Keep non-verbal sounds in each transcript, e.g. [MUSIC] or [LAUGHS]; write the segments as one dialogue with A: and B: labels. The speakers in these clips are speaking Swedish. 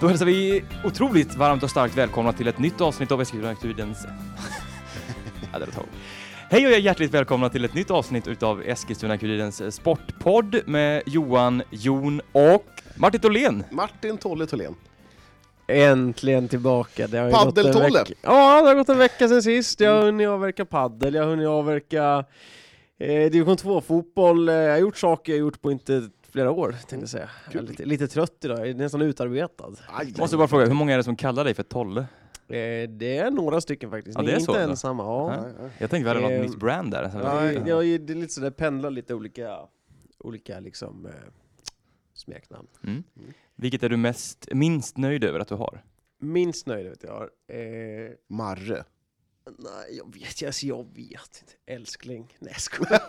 A: Då hälsar vi otroligt varmt och starkt välkomna till ett nytt avsnitt av Eskilstuna-Kuriren's... ja, det var tag. Hej och hjärtligt välkomna till ett nytt avsnitt utav Eskilstuna-Kurirens sportpodd med Johan, Jon och Martin Tholén.
B: Martin Tolle Tholén.
C: Äntligen tillbaka. Det har ju gått en
B: Paddeltolle.
C: vecka- Ja, det har gått en vecka sen sist. Jag har hunnit avverka paddel, jag har hunnit avverka eh, division 2-fotboll. Eh, Jag har gjort saker jag gjort på inte flera år, tänkte jag säga. Jag är
B: Kul.
C: lite, lite trött idag, jag är nästan utarbetad.
B: Aj,
A: Måste bara fråga, hur många är det som kallar dig för Tolle?
C: Eh, det är några stycken faktiskt,
A: Ja,
C: ni
A: det
C: är
A: är
C: inte
A: så, då.
C: ensamma. Ja.
A: Nej. Jag tänkte vi hade
C: Ehm,
A: något nytt brand där. Så-
C: Ja, jag, jag, det är lite sådär, pendlar lite olika, olika liksom, eh, smeknamn.
A: Mm. Vilket är du mest, minst nöjd över att du har?
C: Minst nöjd vet jag. Eh,
B: Marre.
C: Nej, jag vet, alltså, jag vet inte. Älskling. Nej, jag skojar.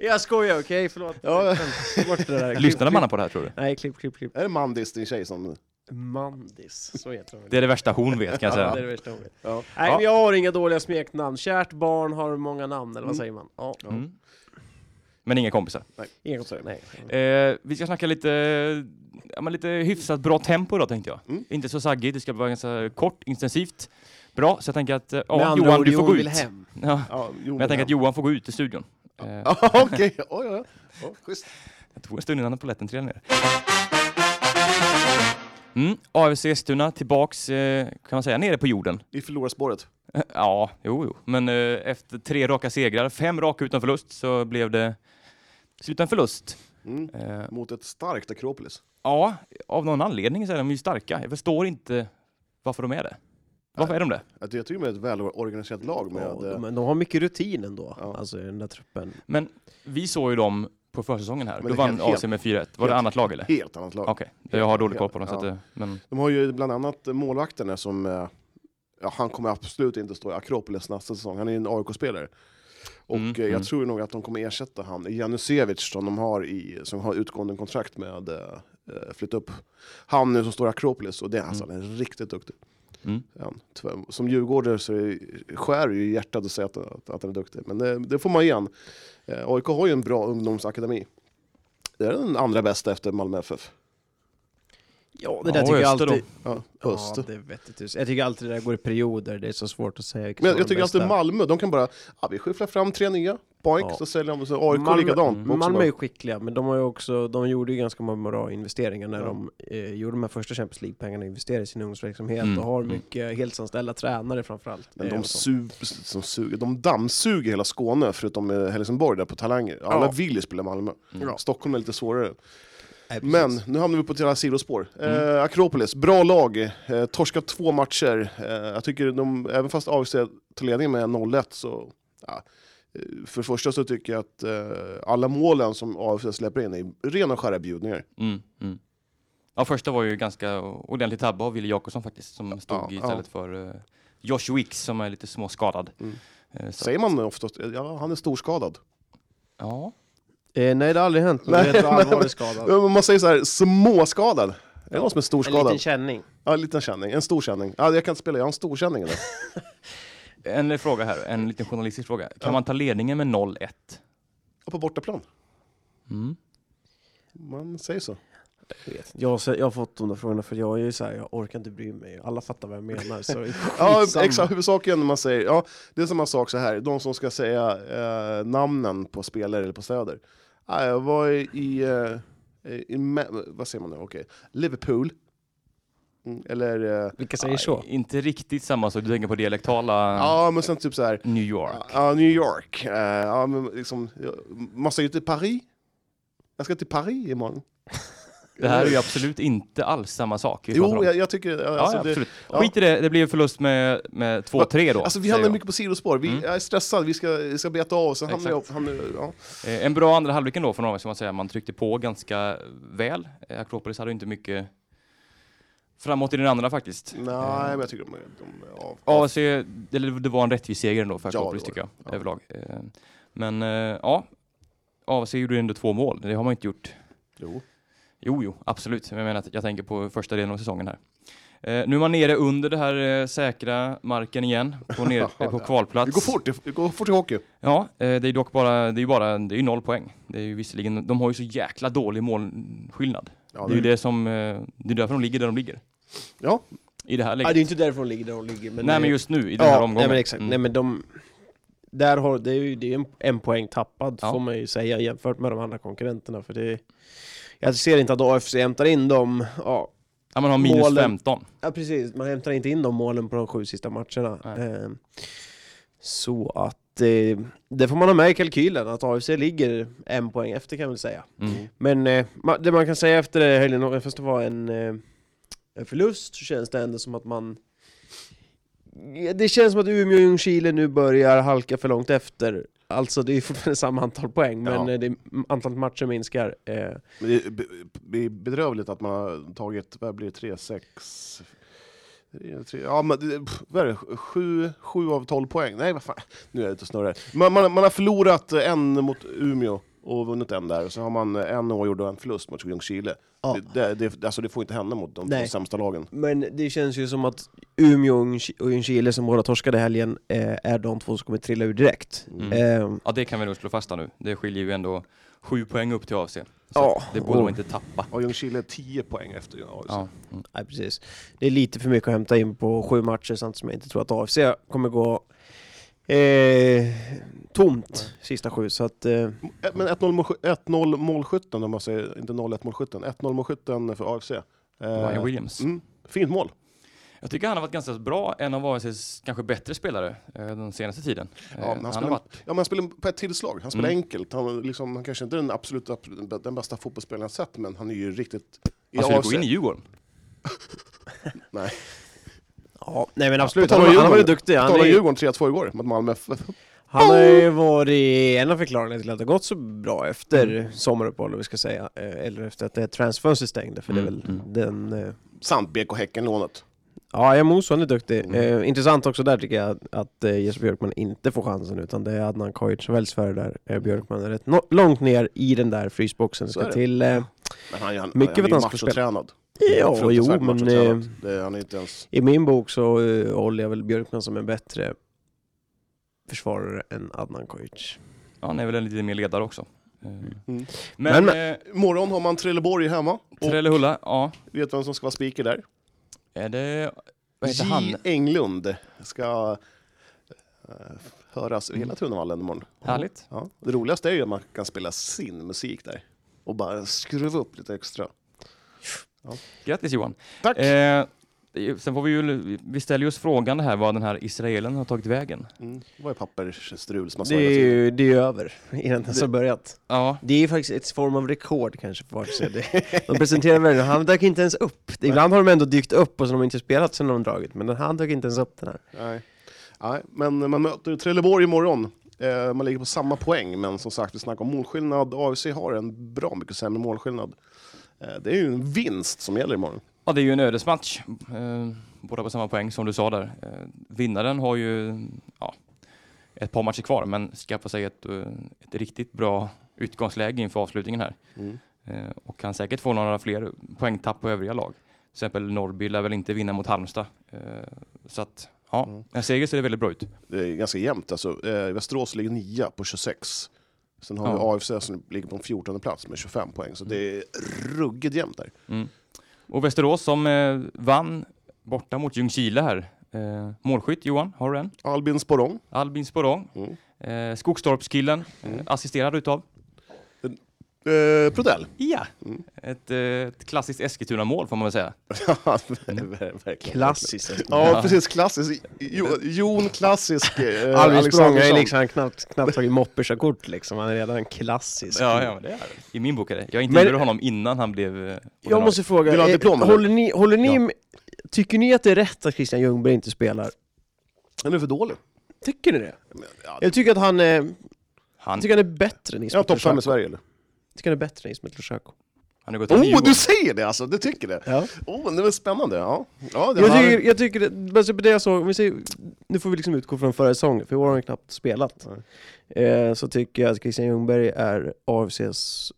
C: Jag skojar, okej, förlåt.
B: Ja.
C: Ta bort det där. Klipp,
A: Lyssnade
C: klipp.
A: man på det här tror du?
C: Nej, klipp, klipp,
B: [LAUGHS]
C: klipp.
B: Är det Mandis, din tjej som...
C: Mandis, så heter hon.
A: Det är det värsta hon vet kan jag
C: Ja, det är
A: säga.
C: det värsta hon vet.
B: Ja.
C: Nej, men jag har inga dåliga smeknamn. Kärt barn har många namn, eller vad säger man? Ja,
A: Mm. Men inga kompisar.
C: inga kompisar. Nej.
A: Eh, vi ska snacka lite, ja, men lite hyfsat bra tempo då tänkte jag.
C: Mm.
A: Inte så saggigt, det ska vara ganska kort, intensivt. Bra, så jag tänker att eh,
C: Med
A: ja,
C: andra
A: Johan
C: ord,
A: du får
C: Johan
A: gå ut.
C: vill hem.
A: Ja.
B: Ja, jo,
A: Men jag tänker att Johan får gå ut i studion. Eh,
B: Ja, [LAUGHS] okej. Oj, oj, oj. Oh, schysst.
A: Det tog en stund innan polletten trillade ner. Mm, AFC Eskilstuna tillbaks, eh, kan man säga, nere på jorden. [LAUGHS]
B: Vi förlorar spåret.
A: Ja, jo, jo. Men eh, efter tre raka segrar, fem raka utan förlust, så blev det sluta en förlust.
B: Mm.
A: Eh,
B: Mot ett starkt Akropolis.
A: ja, av någon anledning så är de ju starka. Jag förstår inte varför de är det. Varför är de det?
B: Jag tycker de är ett välorganiserat lag med...
C: Ja,
B: eh,
C: de, de har mycket rutin ändå,
B: Ja.
C: alltså i den där truppen.
A: Men vi såg ju dem på försäsongen här.
B: Men
A: Då
B: det är
A: vann
B: helt-
A: AC med 4-1. Var det
B: helt-
A: annat lag eller?
B: Helt annat lag.
A: Okej, jag har dålig koll på dem. Så
B: Ja.
A: att, det- men,
B: De har ju bland annat eh, målvakten där som... eh, Ja, han kommer absolut inte stå i Akropolis nästa säsong. Han är ju en AIK-spelare. Och
A: Mm,
B: eh, jag
A: mm.
B: tror nog att de kommer ersätta han, Janusevic, som de har i, som har utgående kontrakt med eh, eh, flytt upp. Han nu som står i Akropolis, och det är alltså han är riktigt duktig.
A: Mm.
B: Ja, tyvärr. som djurgårdare så är- skär ju i hjärtat att säga att, att, att han är duktig. Men det, det får man igen. Eh, AIK har ju en bra ungdomsakademi. Det är den andra bästa efter Malmö FF.
C: Ja, det där
A: Ja,
C: tycker jag
A: Öster då.
C: alltid...
B: Ja, Öst.
C: Ja, det vet du. tusan. Jag tycker alltid det där går i perioder, det är så svårt att säga vilka
B: Men jag,
C: som är
B: jag
C: de
B: tycker alltid
C: bästa.
B: Malmö, de kan bara, ja, vi skyfflar fram tre nya, boink,
C: Ja.
B: så säljer de, så AIK
C: Malmö-
B: likadant.
A: Mm.
B: Också
C: Malmö är
B: bara,
C: ju skickliga, men de, har ju också, de gjorde ju ganska många bra investeringar när
B: Ja.
C: de eh, gjorde de här första Champions League-pengarna och investerade i sin ungdomsverksamhet
A: Mm,
C: och har
A: mm.
C: mycket heltidsanställda tränare framförallt.
B: men
C: Eh,
B: de,
C: och så.
B: su- som suger, de dammsuger hela Skåne, förutom eh, Helsingborg där på talanger. Alla
C: Ja.
B: vill ju spela Malmö.
A: Mm.
B: Ja. Stockholm är lite svårare.
C: Nej, precis. Mm.
B: Men nu hamnar vi på ett jävla sidospår. Eh, Akropolis, bra lag. Eh, torskat två matcher. Eh, jag tycker de, även fast AFC tar ledningen med 0-1 så... Ja, eh, för det första så tycker jag att eh, alla målen som AFC släpper in är rena och skära bjudningar.
A: Mm, mm. Ja, första var ju ganska ordentlig tabbe av Wille Jakobsson faktiskt, som stod
B: ja.
A: istället för eh, Josh Wicks som är lite småskadad.
B: Mm.
A: Eh, så-
B: Säger man oftast, ja han är storskadad.
A: Ja,
C: Eh, nej, det har aldrig hänt.
B: Nej,
C: Nej, det är
B: men-
C: [LAUGHS] allvarlig skada.
B: Men Man säger så här, småskadad. Är det någon som är
C: En liten
B: storskadad?
C: känning.
B: Ja, en liten känning. En stor känning. Ja, jag kan inte spela, jag har en stor känning. idag.
A: en fråga här, en liten journalistisk fråga. Kan
B: Ja.
A: man ta ledningen med 0-1?
B: [LAUGHS] Och på bortaplan.
A: Mm.
B: Man säger så.
C: Jag, vet. Jag, har se- jag har fått de där frågorna för jag är ju såhär, jag orkar inte bry mig. Alla fattar vad jag menar. [LAUGHS] Så
B: Ja,
C: skitsamma.
B: exakt. Huvudsaken när man säger, ja, det är samma sak så här, de som ska säga eh, namnen på spelare eller på städer. Ja, jag var i, eh, i Ma- vad säger man nu, okej, Liverpool. Mm, eller, eh,
C: Vilka säger så?
A: Inte riktigt samma sak, du tänker på dialektala
B: ja men sen typ så här,
A: New York.
B: ja, New York. Eh, ja, men liksom, ja, man säger ju till Paris. Jag ska till Paris imorgon.
A: [LAUGHS] Det här är ju absolut inte alls samma sak. vi pratar om.
B: Eh, Jo, jag, jag tycker...
A: ja,
B: Alltså,
A: ja,
B: det,
A: absolut.
B: ja.
A: Skit i det, det blev förlust med, med 2-3 då.
B: alltså, vi
A: säger
B: hamnar
A: jag.
B: mycket på sidospår. Vi,
A: Mm.
B: Jag är stressad, vi ska, vi ska beta av. Sen hamnar jag,
A: Exakt.
B: hamnar, jag- ja.
A: Eh, En bra andra halvlek ändå från AIK, ska man säga. Man tryckte på ganska väl. Eh, Akropolis hade ju inte mycket framåt i den andra faktiskt.
B: Nej,
A: Eh.
B: men jag tycker de... de ja,
A: AFC, eller det var en rättvis seger ändå för
B: Ja, det
A: Akropolis
B: var
A: tycker jag,
B: Ja.
A: överlag. Eh, Men eh, ja, AFC gjorde ju ändå två mål. Det har man inte gjort.
B: Jo.
A: Jo, jo, absolut. Men jag menar att jag tänker på första delen av säsongen här. Eh, nu är man nere under det här eh, säkra marken igen, på, ner, eh, på kvalplats.
B: Det går fort, det går fort i hockey.
A: Ja, eh, det är dock bara, det är ju bara, det är ju noll poäng. Det är ju visserligen, de har ju så jäkla dålig målskillnad.
B: Ja,
A: det är ju det som, eh, det är därför de ligger där de ligger.
B: Ja.
A: I det här läget.
C: Nej, det är inte därför de ligger där de ligger. Men
A: Nej men just nu, i den här omgången.
C: Nej men exakt,
A: Mm.
C: nej men de... Där har, det är ju det är en, en poäng tappad
A: Ja.
C: får man ju säga jämfört med de andra konkurrenterna för det... Jag ser inte att AFC hämtar in de... Ja,
A: Ja, man har minus
C: målen.
A: 15.
C: ja precis, man hämtar inte in de målen på de sju sista matcherna.
A: Nej.
C: Ehm, så att eh, det får man ha med i kalkylen, att AFC ligger en poäng efter kan jag väl säga.
A: Mm.
C: Men eh, ma- det man kan säga efter det helgen, även fast det var en, eh, en förlust, så känns det ändå som att man... Ja, Det känns som att Umeå och Ljungskile nu börjar halka för långt efter. Alltså det är ju fortfarande samma antal poäng, men
B: Ja.
C: eh, det, m- antalet matcher minskar. Eh,
B: Men det är be- be- bedrövligt att man har tagit, vad blir det, 3, 6... Ja, men det- pff, vad är det? 7, 7 av 12 poäng? Nej, vad fan. Nu är jag ute och snurrar. Man, man, man har förlorat en mot Umeå och vunnit en där, och så har man en oavgjord och en förlust mot Ljungskile.
C: Ja.
B: Det, det, det, alltså det får inte hända mot de
C: Nej.
B: sämsta lagen.
C: men det känns ju som att Umeå och Ljungsk- och Ljungskile som båda torskade i helgen eh, är de två som kommer trilla ur direkt.
A: Mm.
C: Eh,
A: Ja det kan vi nog slå fast här nu. Det skiljer ju ändå sju poäng upp till AFC. Så
C: Ja,
A: att det borde
C: och-
A: man inte tappa.
B: Och Ljungskile är 10 poäng efter AIC.
A: Ja. Mm.
C: Nej, precis. Det är lite för mycket att hämta in på sju matcher samtidigt som jag inte tror att AFC kommer gå eh, tomt sista sju. Så att, eh,
B: Ä- Men 1-0 målsky- 1-0 målskytten, om man säger, inte 0-1 målskytten, 1-0 målskytten för AFC. Eh,
A: Ryan Williams.
B: mm, fint mål.
A: Jag tycker han har varit ganska bra, en av AICs kanske bättre spelare eh, den senaste tiden. Eh,
B: Ja, men han
A: han har
B: spelar-
A: varit,
B: Ja, men han spelar på ett tillslag, han spelar
A: Mm.
B: enkelt. Han, liksom, han kanske inte är den absolut absolut- den bästa fotbollsspelaren jag sett, men han är ju riktigt... i
C: Alltså,
A: han skulle gå
B: AFC.
A: in i Djurgården.
C: ja, nej men absolut,
B: På tal
C: han,
B: om
C: han har varit
B: Djurgården.
C: duktig. Han,
B: Talade
C: är, ju-
B: Djurgården 3-2 igår mot Malmö [LAUGHS] FF.
C: han har ju varit en av förklaringarna till att det har gått så bra efter
B: Mm.
C: sommaruppehållet, vi ska säga. Eh, eller efter att det här transfönstret stängde, för det är
A: Mm,
C: väl den... Eh,
B: Sant BK Häcken-lånet.
C: ja, jag Moso, han är duktig.
B: Mm.
C: Eh, intressant också där tycker jag att, att eh, Jesper Björkman inte får chansen, utan det är Adnan Kajic som väljs före där. Eh, Björkman är rätt no- långt ner i den där frysboxen.
B: Så är
C: Ska
B: det.
C: till... Eh,
B: Men han, han, han
C: Mycket för
B: är
C: att
B: ju
C: han ska spela.
B: machotränad.
C: Ja, jo,
B: Fruktansvärt
C: men eh,
B: machotränad. Det, han är inte ens...
C: i min bok så eh, håller jag väl Björkman som en bättre försvarare än Adnan Kojic.
A: Ja, han är väl en lite mer ledare också. Eh,
B: Mm.
A: Men,
C: Men-
A: eh,
B: Imorgon har man Trelleborg hemma. Och
A: Trellehulla, ja.
B: vet vem som ska vara speaker där?
A: Är det... Vad heter
B: J.
A: han?
B: Englund ska eh, höras över hela Tunavallen imorgon.
A: Härligt.
B: Ja. Det roligaste är ju att man kan spela sin musik där och bara skruva upp lite extra.
A: Grattis Johan.
B: Tack!
A: Eh, sen får vi ju, vi ställer ju oss frågan här vad den här israelen har tagit vägen.
B: Mm. Det var ju pappersstrul som man sa
C: Det är
B: hela tiden.
C: ju det är ju över innan det ens har börjat.
A: Ja,
C: Det är ju faktiskt ett form av rekord kanske för vart sig. Det- [LAUGHS] De presenterar väl den, han dök inte ens upp. Det- Ibland har de ändå dykt upp och så har de inte spelat sen de dragit, men den, han dök inte ens upp den här.
B: Nej. Nej, men man möter Trelleborg imorgon. Eh, man ligger på samma poäng, men som sagt, vi snackar om målskillnad. AFC har en bra mycket sämre målskillnad. Eh, det är ju en vinst som gäller imorgon.
A: ja det är ju en ödesmatch. Eh, båda på samma poäng som du sa där. Eh, vinnaren har ju ja, ett par matcher kvar men skaffar sig ett, eh, ett riktigt bra utgångsläge inför avslutningen här.
B: Mm.
A: Eh, och kan säkert få några fler poängtapp på övriga lag. Till exempel Norrby lär väl inte vinna mot Halmstad. Eh, så att, ja,
B: Mm.
A: en seger ser det väldigt bra ut.
B: Det är ganska jämnt. Alltså, eh, Västerås ligger 9 på 26. Sen har
A: Ja.
B: vi AFC som ligger på en 14 plats med 25 poäng, så det
C: Mm.
B: är ruggigt jämnt där.
A: Mm. Och Västerås som eh, vann borta mot Ljungskile här. Eh, målskytt Johan, har du en?
B: Albin Sporrong.
A: Albin Sporong.
B: Mm.
A: Eh, Skogstorpskillen, eh,
B: Mm.
A: assisterad utav?
B: Eh, Prodell. [LAUGHS]
A: Ja!
B: Mm.
A: Ett, eh, ett klassiskt Eskilstuna-mål får man väl säga.
B: Ja, ver- ver- verkligen.
C: Klassiskt.
B: Ja,
A: Ja.
B: precis. Klassisk. Jo, Jon Klassisk. eh,
C: Alvin Språng har ju
B: Alexandersson.
C: liksom knappt, knappt tagit mopperkörkort liksom, han är redan klassisk.
A: men det är det. I min bok är det. Jag intervjuade
C: Men-
A: honom innan han blev eh,
C: Jag
A: ordinarie.
C: måste fråga,
B: Vill du ha
C: eh,
B: diplom, eller?
C: håller ni, håller ni,
B: Ja.
C: med- tycker ni att det är rätt att Christian Ljungberg inte spelar?
B: Han är för dålig.
C: Tycker ni det?
B: Men, ja,
C: Jag tycker att han, eh,
A: Han,
C: jag tycker han är bättre än
B: Är han
C: Ismet
B: topp fem i
C: Lushako.
B: Sverige eller?
C: Jag tycker han är bättre än Ismet Lushako.
A: han har gått till
B: Oh,
A: Djurgården.
B: du säger det alltså! Du tycker det?
C: Ja.
B: Oh, det var spännande. Ja. Ja, det
C: Jag
B: var-
C: tycker, jag tycker det, baserat på det jag såg, om vi säger, nu får vi liksom utgå från förra säsongen, för i år har han knappt spelat. Eh, så tycker jag att Christian Ljungberg är AFCs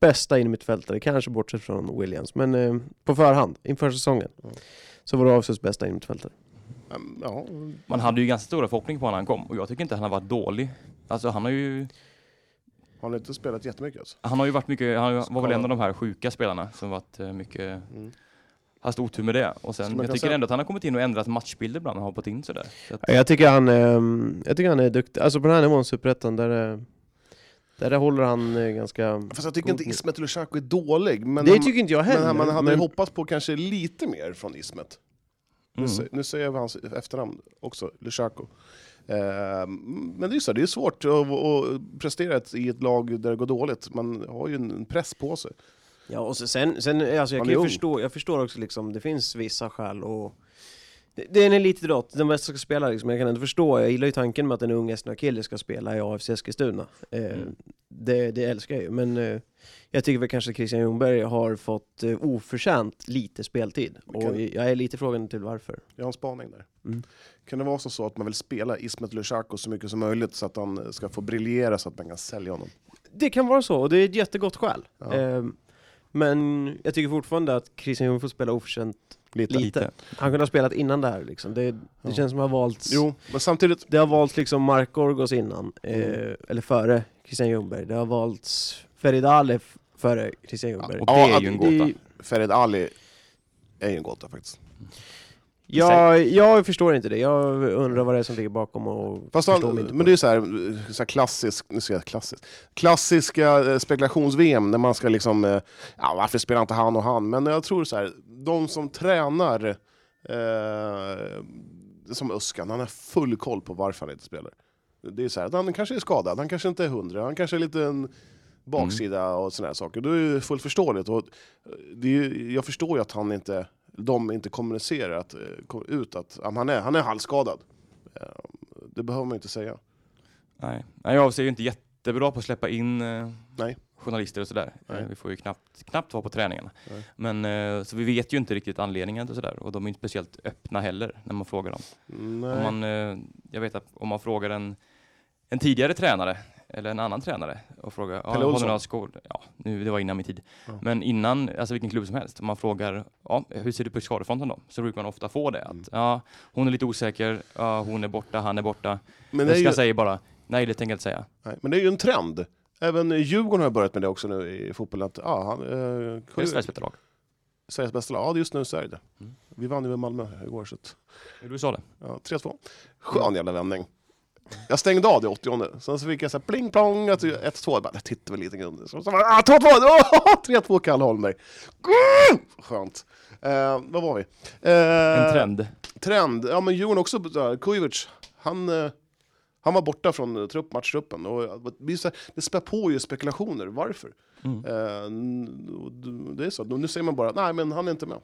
C: bästa innermittfältare, kanske bortsett från Williams, men eh, på förhand, inför säsongen, så var det Asus bästa innermittfältare.
B: Mm, Ja,
A: Man hade ju ganska stora förhoppningar på honom när han kom och jag tycker inte han har varit dålig. Alltså han har ju,
B: han har inte spelat jättemycket alltså.
A: han har ju varit mycket, han var väl en av de här sjuka spelarna som varit eh, mycket,
B: Mm.
A: haft otur med det. Och
B: Som
A: sen,
B: man
A: jag
B: kan
A: tycker
B: säga-
A: ändå att han har kommit in och ändrat matchbilder ibland, han har hoppat in sådär. Så att,
C: Ja, Jag tycker han, eh, jag tycker han är duktig, alltså på den här nivån, Superettan, där, eh, där håller han eh, ganska...
B: Fast jag tycker
C: God-
B: inte Ismet Lushako är dålig, men,
C: det tycker inte jag
B: men
C: heller.
B: han- man hade
C: men-
B: hoppats på kanske lite mer från Ismet. Nu,
A: mm.
B: sä- nu säger jag hans efternamn också, Lushako. Eh, men det är ju så, det är svårt att, att prestera ett- i ett lag där det går dåligt. Man har ju en press på sig.
C: Ja, och så sen, sen alltså jag
B: Han
C: kan
B: är
C: ju
B: ung.
C: förstå, jag förstår också liksom, det finns vissa skäl och det, det är en elitidrott, den bästa ska spela liksom, jag kan ändå förstå, jag gillar ju tanken med att en ung Eskilstuna-kille ska spela i AFC Eskilstuna. Eh,
A: Mm.
C: det, det älskar jag ju, men eh, jag tycker väl kanske att Christian Ljungberg har fått eh, oförtjänt lite speltid.
B: Vilken-
C: Och jag är lite frågan till varför.
B: Jag har en spaning där.
C: Mm.
B: Kan det vara så, så att man vill spela Ismet Lushako så mycket som möjligt så att han ska få briljera så att man kan sälja honom?
C: Det kan vara så, och det är ett jättegott skäl.
B: Ja.
C: Eh, men jag tycker fortfarande att Christian Ljungberg får spela oförtjänt
B: Lite.
C: lite. Han kunde ha spelat innan det här liksom. Det, det
B: Ja.
C: känns som att han har valts...
B: Jo, men samtidigt,
C: Det har valts liksom Mark Orgos innan, eh,
B: Mm.
C: eller före Christian Ljungberg. Det har valts Ferid Ali f- före Christian Ljungberg.
A: Och
B: Ja,
A: det är
B: att
A: ju en
C: Det-
A: gåta.
B: Fered Ali är ju en gåta faktiskt.
C: jag, jag förstår inte det. Jag undrar vad det är som ligger bakom och
B: Fast
C: förstår
B: han,
C: mig inte
B: men det är ju så här, så här klassisk, nu ska jag klassiskt, klassiska eh, spekulations-VM när man ska liksom, eh, ja, varför spelar inte han och han? Men jag tror så här, de som tränar eh, som Öskan, han har full koll på varför han inte spelar. Det är så här, att han kanske är skadad, han kanske inte är hundra, han kanske är lite en baksida och sådana här saker. Det är ju fullt förståeligt. Och eh, det är ju, jag förstår ju att han inte, de inte kommunicerar att, eh, kom- ut att ja, men han, är, han är halvskadad. Eh, Det behöver man ju inte säga.
A: Nej. Nej, jag avser ju inte jättebra på att släppa in eh,
B: Nej.
A: journalister och sådär.
B: Nej.
A: Eh, vi får ju knappt, knappt vara på träningarna.
B: Nej.
A: Men, eh, så vi vet ju inte riktigt anledningen och sådär. Och de är inte speciellt öppna heller när man frågar dem. Om
B: Nej.
A: man, eh, jag vet att om man frågar en, en tidigare tränare eller en annan tränare och frågar, ja,
B: Pelle
A: har du
B: Olsson?
A: några skor? Ja, nu, det var innan min tid.
B: Ja.
A: Men innan, alltså vilken klubb som helst, om man frågar, ja, hur ser du på skadefronten då? Så brukar man ofta få det. Att,
B: Mm.
A: ja, hon är lite osäker, ja, hon är borta, han är borta.
B: Men, det är
A: Öskan
B: ju,
A: säger bara, nej det tänker jag inte säga.
B: nej, men det är ju en trend. Även Djurgården har börjat med det också nu i fotbollen. Att, ah, han, eh,
A: Det är Sveriges bästa lag.
B: Sveriges bästa lag. Ja, just nu så är det det.
A: Mm.
B: Vi vann ju med Malmö igår. Så att,
A: Du sa det.
B: ja, 3-2. Skön jävla vändning. Jag stängde av det 80 sen så fick jag så här pling plong, att det är 1-2, jag bara det tittar väl lite grann. Så, så bara, ah, 2-2, [LAUGHS] åh, 3-2 Kalle Holmberg. Gud, Skönt. Eh, vad var vi? Eh,
A: En trend.
B: trend. Ja, men Djurgården också, så här, Kujovic, han, eh, han var borta från eh, trupp, matchtruppen. Och eh, det, är så här, det spär på ju spekulationer, varför?
A: Mm.
B: Eh, n- och d- det är så, nu säger man bara, nej men han är inte med.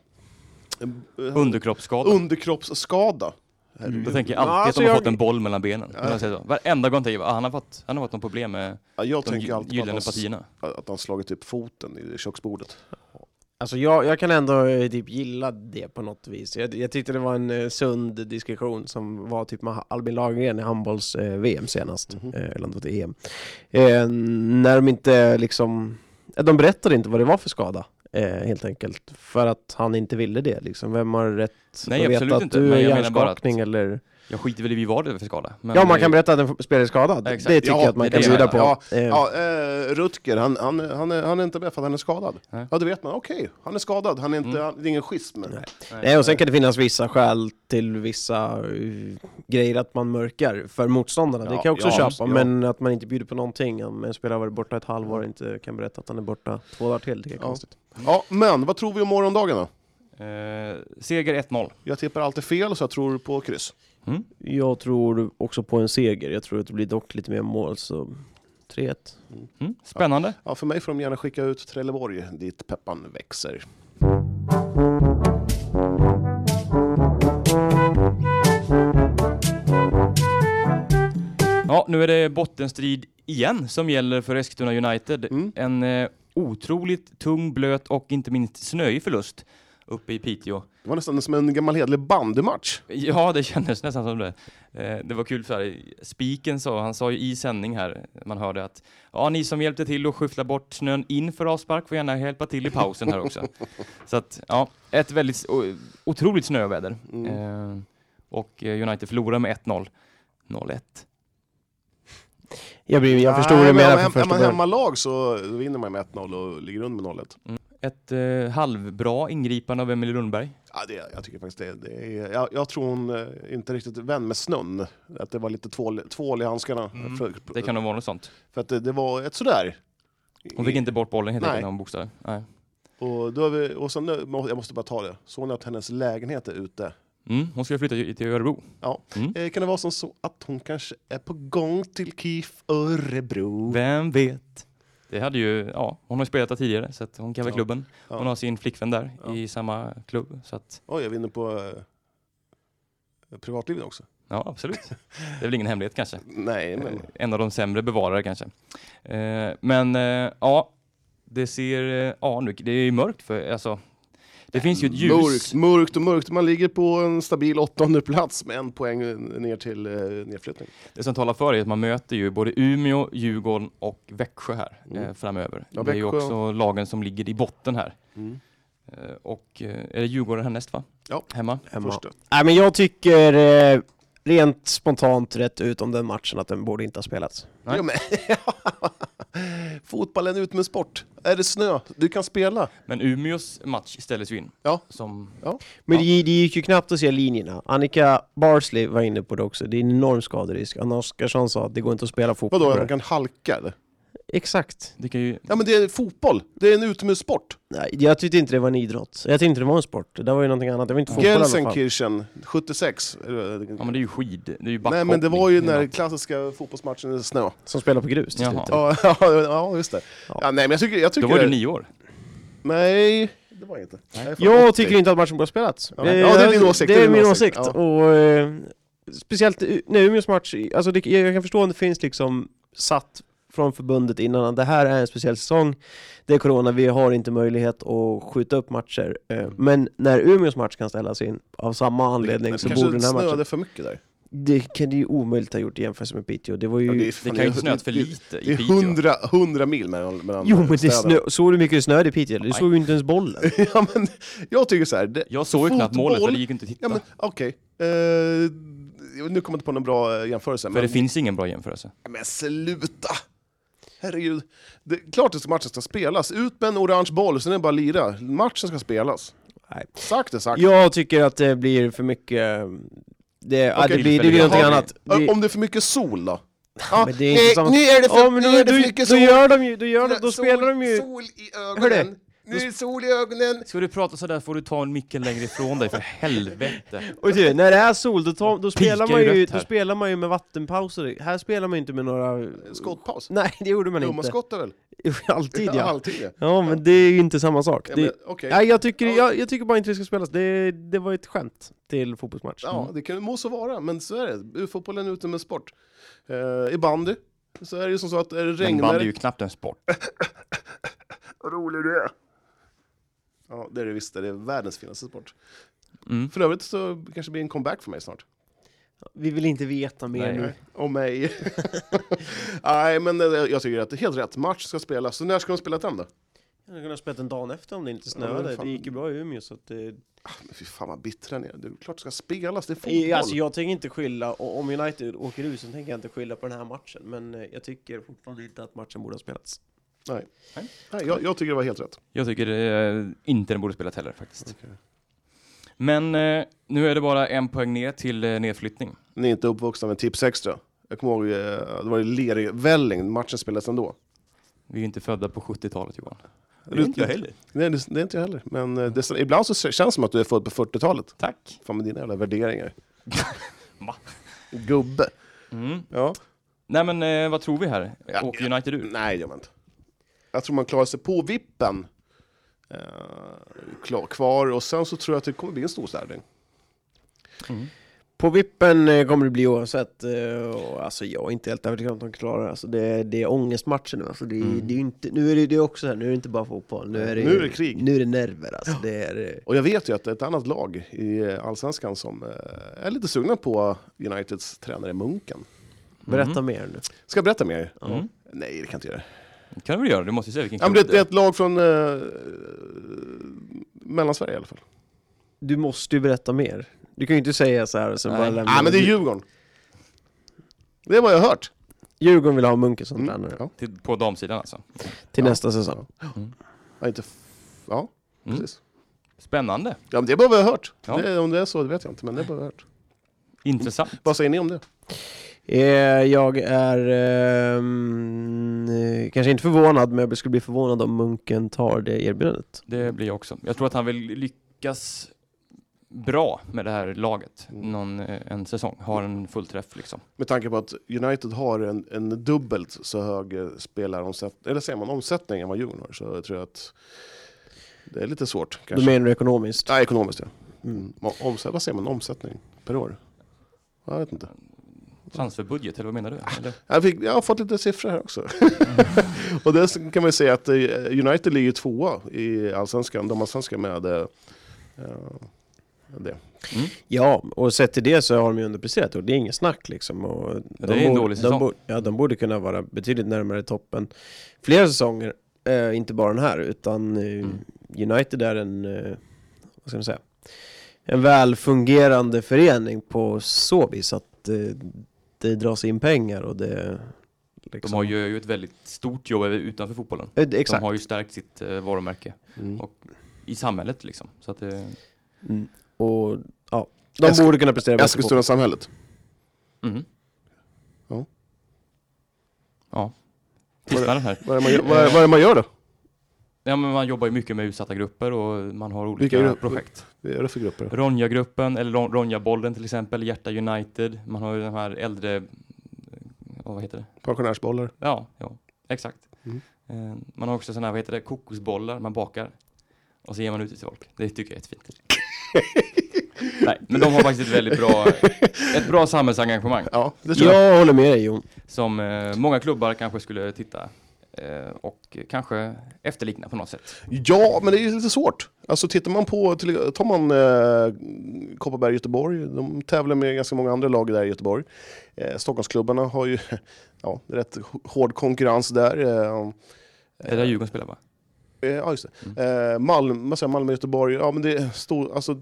B: Eh, eh,
A: Underkroppsskada.
B: Underkroppsskada.
A: Mm. Då
B: Herregud.
A: tänker jag alltid att
C: Alltså,
A: de har
C: jag-
A: fått en boll mellan benen. När de säger så. Varenda gång tänker jag, ah, han har fått, han har fått något problem med
B: Ja, jag
A: de
B: tänker
A: gy-
B: alltid på
A: gyllene
B: att han,
A: partierna.
B: att han slagit upp foten i köksbordet.
C: Alltså jag, jag kan ändå eh, typ gilla det på något vis. Jag, jag tyckte det var en eh, sund diskussion som var typ med Ha- Albin Lagergren i handbolls-VM senast,
B: Mhm.
C: eh, eller om det var till EM. Eh, när de inte liksom, eh, de berättade inte vad det var för skada. Eh, helt enkelt, för att han inte ville det liksom. Vem har rätt
A: Nej,
C: att
A: absolut
C: veta att
A: inte,
C: du
A: men
C: är
A: jag menar bara att-
C: hjärnskakning eller...
A: Jag skiter väl i vad det är för skada. Men
C: Ja, man kan berätta att en spelare är skadad.
A: Ja, exakt.
C: det tycker
B: Ja,
C: jag att man
A: det
C: kan
A: är det
C: bjuda
A: jag
C: på.
B: menar.
C: Eh,
B: Ja, eh, Rutger, han, han, han, är, han är inte med för att han är skadad.
A: Nej.
B: Ja, det vet man. Okej, han är skadad. Han är inte,
A: Mm.
B: han, det är ingen schism.
C: Nej. Nej, och sen kan det finnas vissa skäl till vissa eh, grejer att man mörkar för motståndarna. det
B: Ja,
C: kan jag också
B: ja,
C: köpa,
B: visst, ja.
C: men att man inte bjuder på någonting. Om en spelare har varit borta ett halvår och inte kan berätta att han är borta två dagar till, det är
B: Ja.
C: konstigt.
B: Ja, men vad tror vi om morgondagen då?
A: Eh, seger 1-0.
B: Jag tippar alltid fel så jag tror på kryss.
A: Mm.
C: Jag tror också på en seger. Jag tror att det blir dock lite mer mål, så 3-1.
A: Mm. Spännande.
B: Ja, för mig får de gärna skicka ut Trelleborg dit peppan växer.
A: Ja, nu är det bottenstrid igen som gäller för Eskilstuna United.
B: Mm.
A: En eh, otroligt tung, blöt och inte minst snöig förlust. uppe i Piteå.
B: Det var nästan som en gammal hederlig bandymatch.
A: Ja, det kändes nästan som det. Eh, Det var kul för här, Spiken sa, han sa ju i sändning här, man hörde att ja, ni som hjälpte till att skyffla bort snön inför avspark får gärna hjälpa till i pausen här
B: [LAUGHS]
A: också. Så att, ja, ett väldigt o- otroligt snöväder.
B: Mm.
A: Eh, Och eh, United förlorade med 1-0. 0-1.
C: Jag, blir, jag förstod
B: Nej,
C: det
B: men
C: mer
B: om-
C: från
B: Är
C: första
B: man
C: början.
B: hemmalag så vinner man med 1-0 och ligger under med 0-1.
A: Ett eh, halvbra ingripande av Emelie Lundberg.
B: Ja, det, jag tycker faktiskt det, det är, jag, jag tror hon eh, inte riktigt är vän med snön. Att det var lite tvål, tvål i handskarna.
A: Mm,
B: För,
A: Det kan nog vara något sånt.
B: för att det, det var ett sådär.
A: Hon fick inte bort bollen helt
B: Nej.
A: enkelt när hon boxade. Nej.
B: Och, då har vi, och sen, nu- må- jag måste bara ta det, såg ni att hennes lägenhet är ute?
A: Mm, hon skulle flytta ju till Örebro.
B: Ja.
A: Mm.
B: Eh, kan det vara som så att hon kanske är på gång till KIF Örebro?
A: Vem vet? Det hade ju, ja, hon har ju spelat där tidigare så att hon kan väl
B: Ja.
A: klubben. Hon
B: Ja.
A: har sin flickvän där
B: Ja.
A: i samma klubb så att,
B: Oj, jag vinner på eh, privatlivet också.
A: ja absolut. Det är väl ingen hemlighet kanske.
B: [LAUGHS] Nej, men...
A: Eh, En av de sämre bevarare kanske. Eh, men eh, ja, det ser, eh, ja nu, det är ju mörkt för, alltså, det finns ju ett ljus.
B: Äh, Mörkt, mörkt och mörkt. Man ligger på en stabil åttonde plats med en poäng ner till eh, nedflyttning.
A: Det som talar för är att man möter ju både Umeå, Djurgården och Växjö här
B: Mm.
A: eh, framöver.
B: Ja,
A: det är ju
B: Växjö-
A: också lagen som ligger i botten här.
B: Mm.
A: Eh, och eh, är det Djurgården härnäst va?
B: Ja.
A: Hemma.
C: Hemma.
B: Första.
C: Nej men jag tycker eh, rent spontant rätt ut om den matchen att den borde inte ha spelats.
A: Nej.
B: Ja, men, [LAUGHS] fotboll är en utomhussport. Är det snö? Du kan spela.
A: Men Umeås match ställdes ju in.
B: Ja.
A: Som,
C: Men
A: Ja.
C: det, det gick ju knappt att se linjerna. Annika Barsley var inne på det också, det är en enorm skaderisk. Anna Oskarsson sa att det går inte att spela fotboll
B: Vadå,
C: på
B: man
C: det.
B: kan halka eller?
C: Exakt.
A: det kan ju,
B: Ja men det är fotboll. Det är en utomhussport.
C: Nej, jag tyckte inte det var en idrott. Jag tyckte inte det var en sport. Det där var ju någonting annat. Det var inte fotboll i alla fall.
B: Gelsenkirchen, 76. eller-
A: ja men det är ju skid, det är ju
B: Nej
A: backhoppning.
B: men det var ju den där klassiska fotbollsmatchen i snö.
C: Som spelar på grus till
A: Jaha.
C: slut.
B: Ja, ja, [LAUGHS] ja just det.
C: Ja.
B: Ja. nej men jag tycker... Jag tycker
A: Då var du
B: det-
A: nio år.
B: Nej, det var jag inte.
A: Nej.
B: Jag är fan
C: Jag
B: 80.
C: tycker inte att matchen borde ha spelats. Eh,
B: Ja, ja, det är din åsikt,
C: Det är min åsikt. Och, eh, speciellt u- när Umeås match, alltså det, jag kan förstå om det finns liksom satt från förbundet innan att det här är en speciell säsong. Det är corona, vi har inte möjlighet att skjuta upp matcher. Eh, Men när Umeås match kan ställas in av samma anledning
B: Det
C: så
B: kanske
C: borde den här matchen...
B: snöade för mycket där.
C: Det kan det ju omöjligt ha gjort i jämförelse med Piteå. Det var ju...
B: Ja, är
A: Det
B: fan-
A: kan ju inte snöat för
B: det-
A: lite
B: Det
A: i
B: är
A: Piteå.
B: 100, 100 mil mellan, mellan
C: Jo men det
B: städerna.
C: snö... såg du hur mycket snö det är i Piteå? Du
A: Nej.
C: såg ju inte ens bollen.
B: [LAUGHS] ja, men, jag tycker så här. Det,
A: Jag såg ju knappt målet för
B: Fotboll.
A: det gick ju inte att titta.
B: ja, men, okej. Eh, nu kommer jag inte på någon bra eh, jämförelse.
A: För
B: Men,
A: det finns ingen bra jämförelse.
B: men sluta! Herregud. Det är klart att matchen ska spelas. Ut med en orange boll, sen är det bara att lira. Matchen ska spelas.
C: Nej.
B: Sagt är sagt.
C: Jag tycker att det blir för mycket... eh, Det, ja, det,
B: Okej,
C: blir, det blir
A: tillfälligt.
C: någonting
B: Har vi-
C: annat.
B: Ö,
C: Det,
B: Om det är för mycket sol då? Ja,
C: men det är inte
B: nej,
C: samma-
B: Nu är det för,
C: ja, men
B: nu
C: då,
B: är det
C: då,
B: för
C: då,
B: mycket sol!
C: gör de ju, då, gör de,
B: Sol-
C: då spelar de ju...
B: Sol i
C: Hörde?
B: ögonen! Nu är det sol i ögonen!
A: Ska du prata sådär får du ta en micken längre ifrån dig för
B: [LAUGHS]
A: helvete.
C: Och du, när det är sol, då, tar, då, spelar
A: Pikar
C: man
A: ju
C: ju,
A: rött
C: då
A: här.
C: spelar man ju med vattenpauser. Här spelar man ju inte med några...
B: Skottpaus?
C: Nej, det gjorde man
B: Jo, man
C: inte.
B: skottar väl?
C: [LAUGHS] Alltid
B: Ja,
C: ja.
B: alltid.
C: Ja, men det är ju inte samma sak.
B: Ja,
C: Det,
B: men, okej.
C: nej, jag, tycker,
B: Ja.
C: jag, jag tycker bara inte det ska spelas. Det, det var ju ett skämt till fotbollsmatch.
B: Ja, det kan må så vara, men så är det. Fotbollen är ute med sport. Eh, I bandy så är det ju som så att är det
A: Men
B: regnar...
A: bandy är ju knappt en sport.
B: Vad rolig du är! Ja, det är det visst. Det är världens finaste sport.
A: Mm.
B: För övrigt så kanske det blir en comeback för mig snart.
C: Vi vill inte veta mer
A: Nej.
C: nu.
B: Och mig. [LAUGHS] Nej, men eh, jag tycker att det är helt rätt. Match ska spelas. Så när ska de spela den då?
C: Jag hade kunnat spela den dagen efter om det inte
B: Ja,
C: snöade.
B: men fan.
C: det gick ju bra i Umeå så att det...
B: Ah, men fy fan vad bittra ni är. Det är klart det ska spelas. Det är fotboll.
C: Eh, Alltså jag tänker inte skylla, och om United åker ut så tänker jag inte skylla på den här matchen. Men eh, jag tycker fortfarande inte att matchen borde ha spelats.
B: Nej, jag, jag tycker det var helt rätt.
A: Jag tycker eh, inte den borde spelat heller faktiskt. Men eh, nu är det bara en poäng ner till eh, nedflyttning.
B: Ni är inte uppvuxna med tips extra. Jag kommer ihåg, eh, det var i Lervälling, matchen spelades ändå.
A: Vi är ju inte födda på 70-talet Johan. Det
B: Du-
A: är inte jag heller.
B: Nej, det, det är inte jag heller. Men eh, det, ibland så känns det som att du är född på 40-talet.
A: Tack.
B: Fan med dina jävla värderingar.
A: Va?
B: Gubbe.
A: Mm.
B: Ja.
A: Nej men eh, vad tror vi här?
B: Ja,
A: Åker United ur?
B: Nej, det gör man inte. Jag tror man klarar sig på vippen. Eh, klar, kvar och sen så tror jag att det kommer bli en storstädning.
C: På vippen eh, kommer det bli oavsett. eh, och Alltså jag är inte helt övertygad om att de klarar det. Alltså, det. Det är ångestmatcher nu. Alltså, det, är-
A: Mm.
C: det är ju inte, nu är det, det är också så här, nu är det inte bara fotboll. Nu är det,
B: Nu är det krig.
C: Nu är det nerver. Alltså, det är, eh,
B: Och jag vet ju att ett annat lag i eh, Allsvenskan som eh, är lite sugna på Uniteds tränare Munken.
C: berätta mer nu.
B: Ska jag berätta mer?
A: Mm.
B: Nej, det kan jag inte göra.
A: Det kan du väl göra? Du måste ju säga vilken
B: Ja, men
A: klubb
B: det, det är ett lag från eh, Mellansverige i alla fall.
C: Du måste ju berätta mer. Du kan ju inte säga så här och sen
A: Nej.
C: bara
B: Nej,
C: lämna.
B: men det är Djurgården. Det är vad jag har hört.
C: Djurgården vill ha Munken som
B: Mm,
C: tränare
B: Ja.
A: Till, på damsidan alltså.
C: till
B: Ja.
C: nästa säsong.
B: Ja, inte f- ja
A: Mm.
B: precis.
A: Spännande.
B: Ja, men det är bara vad jag har hört.
A: Ja.
B: Det, om det är så det vet jag inte, men det är bara vad jag har hört.
A: Intressant.
B: Vad säger ni om det?
C: Eh, jag är ehm, eh, kanske inte förvånad, men jag skulle bli förvånad om Munken tar det erbjudandet.
A: Det blir jag också. Jag tror att han vill lyckas bra med det här laget.
B: Mm.
A: Någon, eh, en säsong. Har en full träff liksom.
B: Med tanke på att United har en, en dubbelt så hög eh, spelaromsättning, eller säger man omsättning än vad Djurgården har, så jag tror att det är lite svårt
C: Då
B: kanske.
C: menar du ekonomiskt?
B: Nej, ekonomiskt ja.
C: Mm.
B: Mm. Omsätt, vad säger man omsättning per år? Jag vet inte.
A: Transferbudget, eller vad menar du? Eller?
B: Jag, fick, jag har fått lite siffror här också. [LAUGHS] och det kan man ju säga att eh, United ligger tvåa i allsvenskan, de allsvenska med eh, eh, det.
C: Ja, och sett till det så har de ju underpresterat och det är inget snack liksom. Och
A: det är en
C: borde-
A: dålig
C: De
A: säsong.
C: borde, ja, de borde kunna vara betydligt närmare toppen flera säsonger. Eh, inte bara den här, utan eh,
A: Mm.
C: United är en, eh, vad ska man säga, en välfungerande förening på så vis att eh, det dras in pengar och det...
A: De
C: Liksom,
A: har ju gör ju ett väldigt stort jobb utanför fotbollen.
C: Eh, Exakt.
A: De har ju stärkt sitt eh, varumärke
B: Mm.
A: Och- i samhället liksom. Så att det...
C: Mm. Och ja, de
B: Esk-
C: borde kunna prestera bättre på-
B: Eskilstuna samhället.
A: Mm.
B: Ja.
A: Ja. Tystnaden här.
B: Vad är, det man, gör- vad, är, vad är det man gör då?
A: Ja, men man jobbar ju mycket med utsatta grupper och man har
B: Vilka
A: olika
B: grupper?
A: projekt.
B: Vad är det för grupper?
A: Ronja-gruppen, eller Ron- Ronja-bollen till exempel, Hjärta United. Man har ju den här äldre... ja, Vad heter det?
B: Pensionärsbollar?
A: Ja, ja exakt.
B: Mm.
A: Eh, Man har också sådana här, vad heter det, kokosbollar man bakar. Och så ger man ut det till folk. Det tycker jag är
B: [LAUGHS]
A: jättefint. Nej, men de har faktiskt ett väldigt bra, ett bra samhällsengagemang.
B: Ja, det tror jag.
C: Jag håller med dig Jon.
A: som eh, många klubbar kanske skulle titta eh, och kanske efterlikna på något sätt.
B: Ja, men det är ju lite svårt. Alltså tittar man på, till- tar man eh, Kopparberg Göteborg, de tävlar med ganska många andra lag där i Göteborg. Eh, Stockholmsklubbarna har ju [LAUGHS] ja, rätt hård konkurrens där. Eh,
A: Det är där Djurgården spelar va?
B: Eh, Ja, just det. Eh, Malmö, vad säger jag, Malmö, Göteborg. Ja, men det är stor, alltså,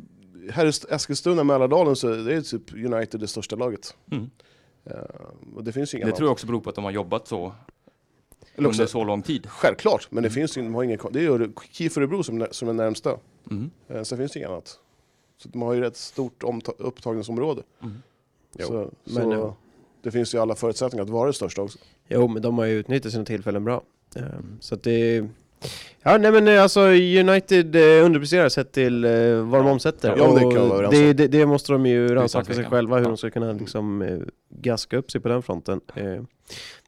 B: här i St- Eskilstuna, Mälardalen, så det är typ United det största laget.
A: Mm.
B: Eh, och det finns ju inga
A: Det tror jag också beror på att de har jobbat så
B: Eller också-
A: under så lång tid.
B: Självklart, men det finns ju de har ingen, det är ju KIF Örebro som, är- som är närmsta.
A: Mm.
B: Eh, sen finns det inget annat. Så de har ju rätt stort omta- upptagningsområde.
A: Mm.
C: Jo,
B: så
C: men,
B: så
C: ja.
B: det finns ju alla förutsättningar att vara det största också.
C: Jo, men de har ju utnyttjat sina tillfällen bra. Eh, Så att det... Ja, nej men eh, alltså United eh, underpresterar sett till eh, vad de omsätter.
B: Ja, men det kan vi
C: Och
B: vara överens
C: det, det, det måste de ju rannsaka sig
A: tvekan.
C: själva, hur
A: Ja.
C: de ska kunna liksom eh, gaska upp sig på den fronten.
B: Och
C: Eh, De
B: det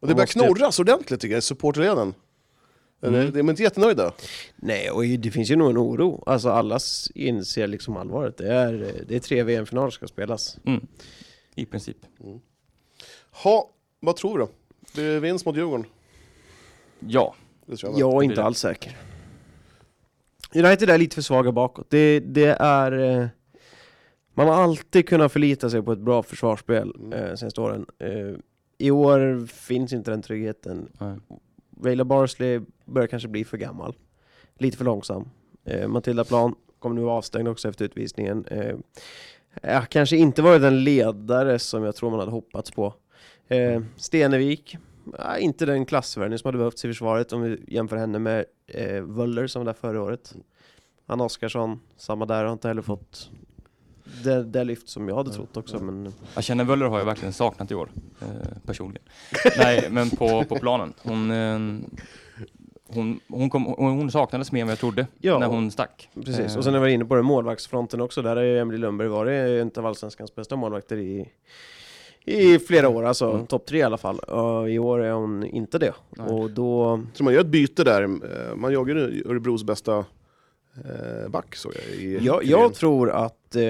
B: börjar
C: måste ju-
B: knorras ordentligt tycker jag i supporterleden. Eh,
A: Mm.
B: det- De är inte jättenöjda.
C: Nej, och det finns ju nog en oro. Alltså alla s- inser liksom allvaret. Det är, eh, det är tre VM-finaler som ska spelas.
A: Mm. I princip.
B: Mm. Ha, vad tror du? Det vinst mot Djurgården.
A: Ja,
B: Det tror jag.
C: Jag är
A: Det blir
C: inte
A: det.
C: alls säker. United är lite för svaga bakåt. Det, det är... eh, Man har alltid kunnat förlita sig på ett bra försvarsspel
B: Mm.
C: eh, senaste åren. Eh, I år finns inte den tryggheten.
A: Nej.
C: Rayla Barsley börjar kanske bli för gammal. Lite för långsam. Eh, Matilda Plan kommer nu vara avstängd också efter utvisningen. Eh, jag har kanske inte varit den ledare som jag tror man hade hoppats på. Eh, Stenevik, eh, inte den klassvärvning som hade behövts i försvaret om vi jämför henne med eh, Wöller som var där förra året. Anna Oskarsson, samma där, har inte heller fått det, det lyft som jag hade trott också. Men,
A: jag känner Wöller har jag verkligen saknat i år, eh,
C: [LAUGHS]
A: personligen. Nej, men på, på planen. Hon, eh, hon, hon, kom, hon, hon saknades mer än vad jag trodde
C: ja,
A: när hon stack.
C: Precis,
A: Eh,
C: och sen när jag var inne på det, målvaktsfronten också, där har ju Emily Lundberg varit en av allsvenskans bästa målvakter i, i flera år, alltså
A: Mm.
C: topp tre i alla fall. Och I år är hon inte det.
A: Nej.
C: Och då,
B: Jag tror man gör ett byte där. Eh, Man jagar ju Örebros bästa eh, back såg jag. I
C: jag, jag tror att eh,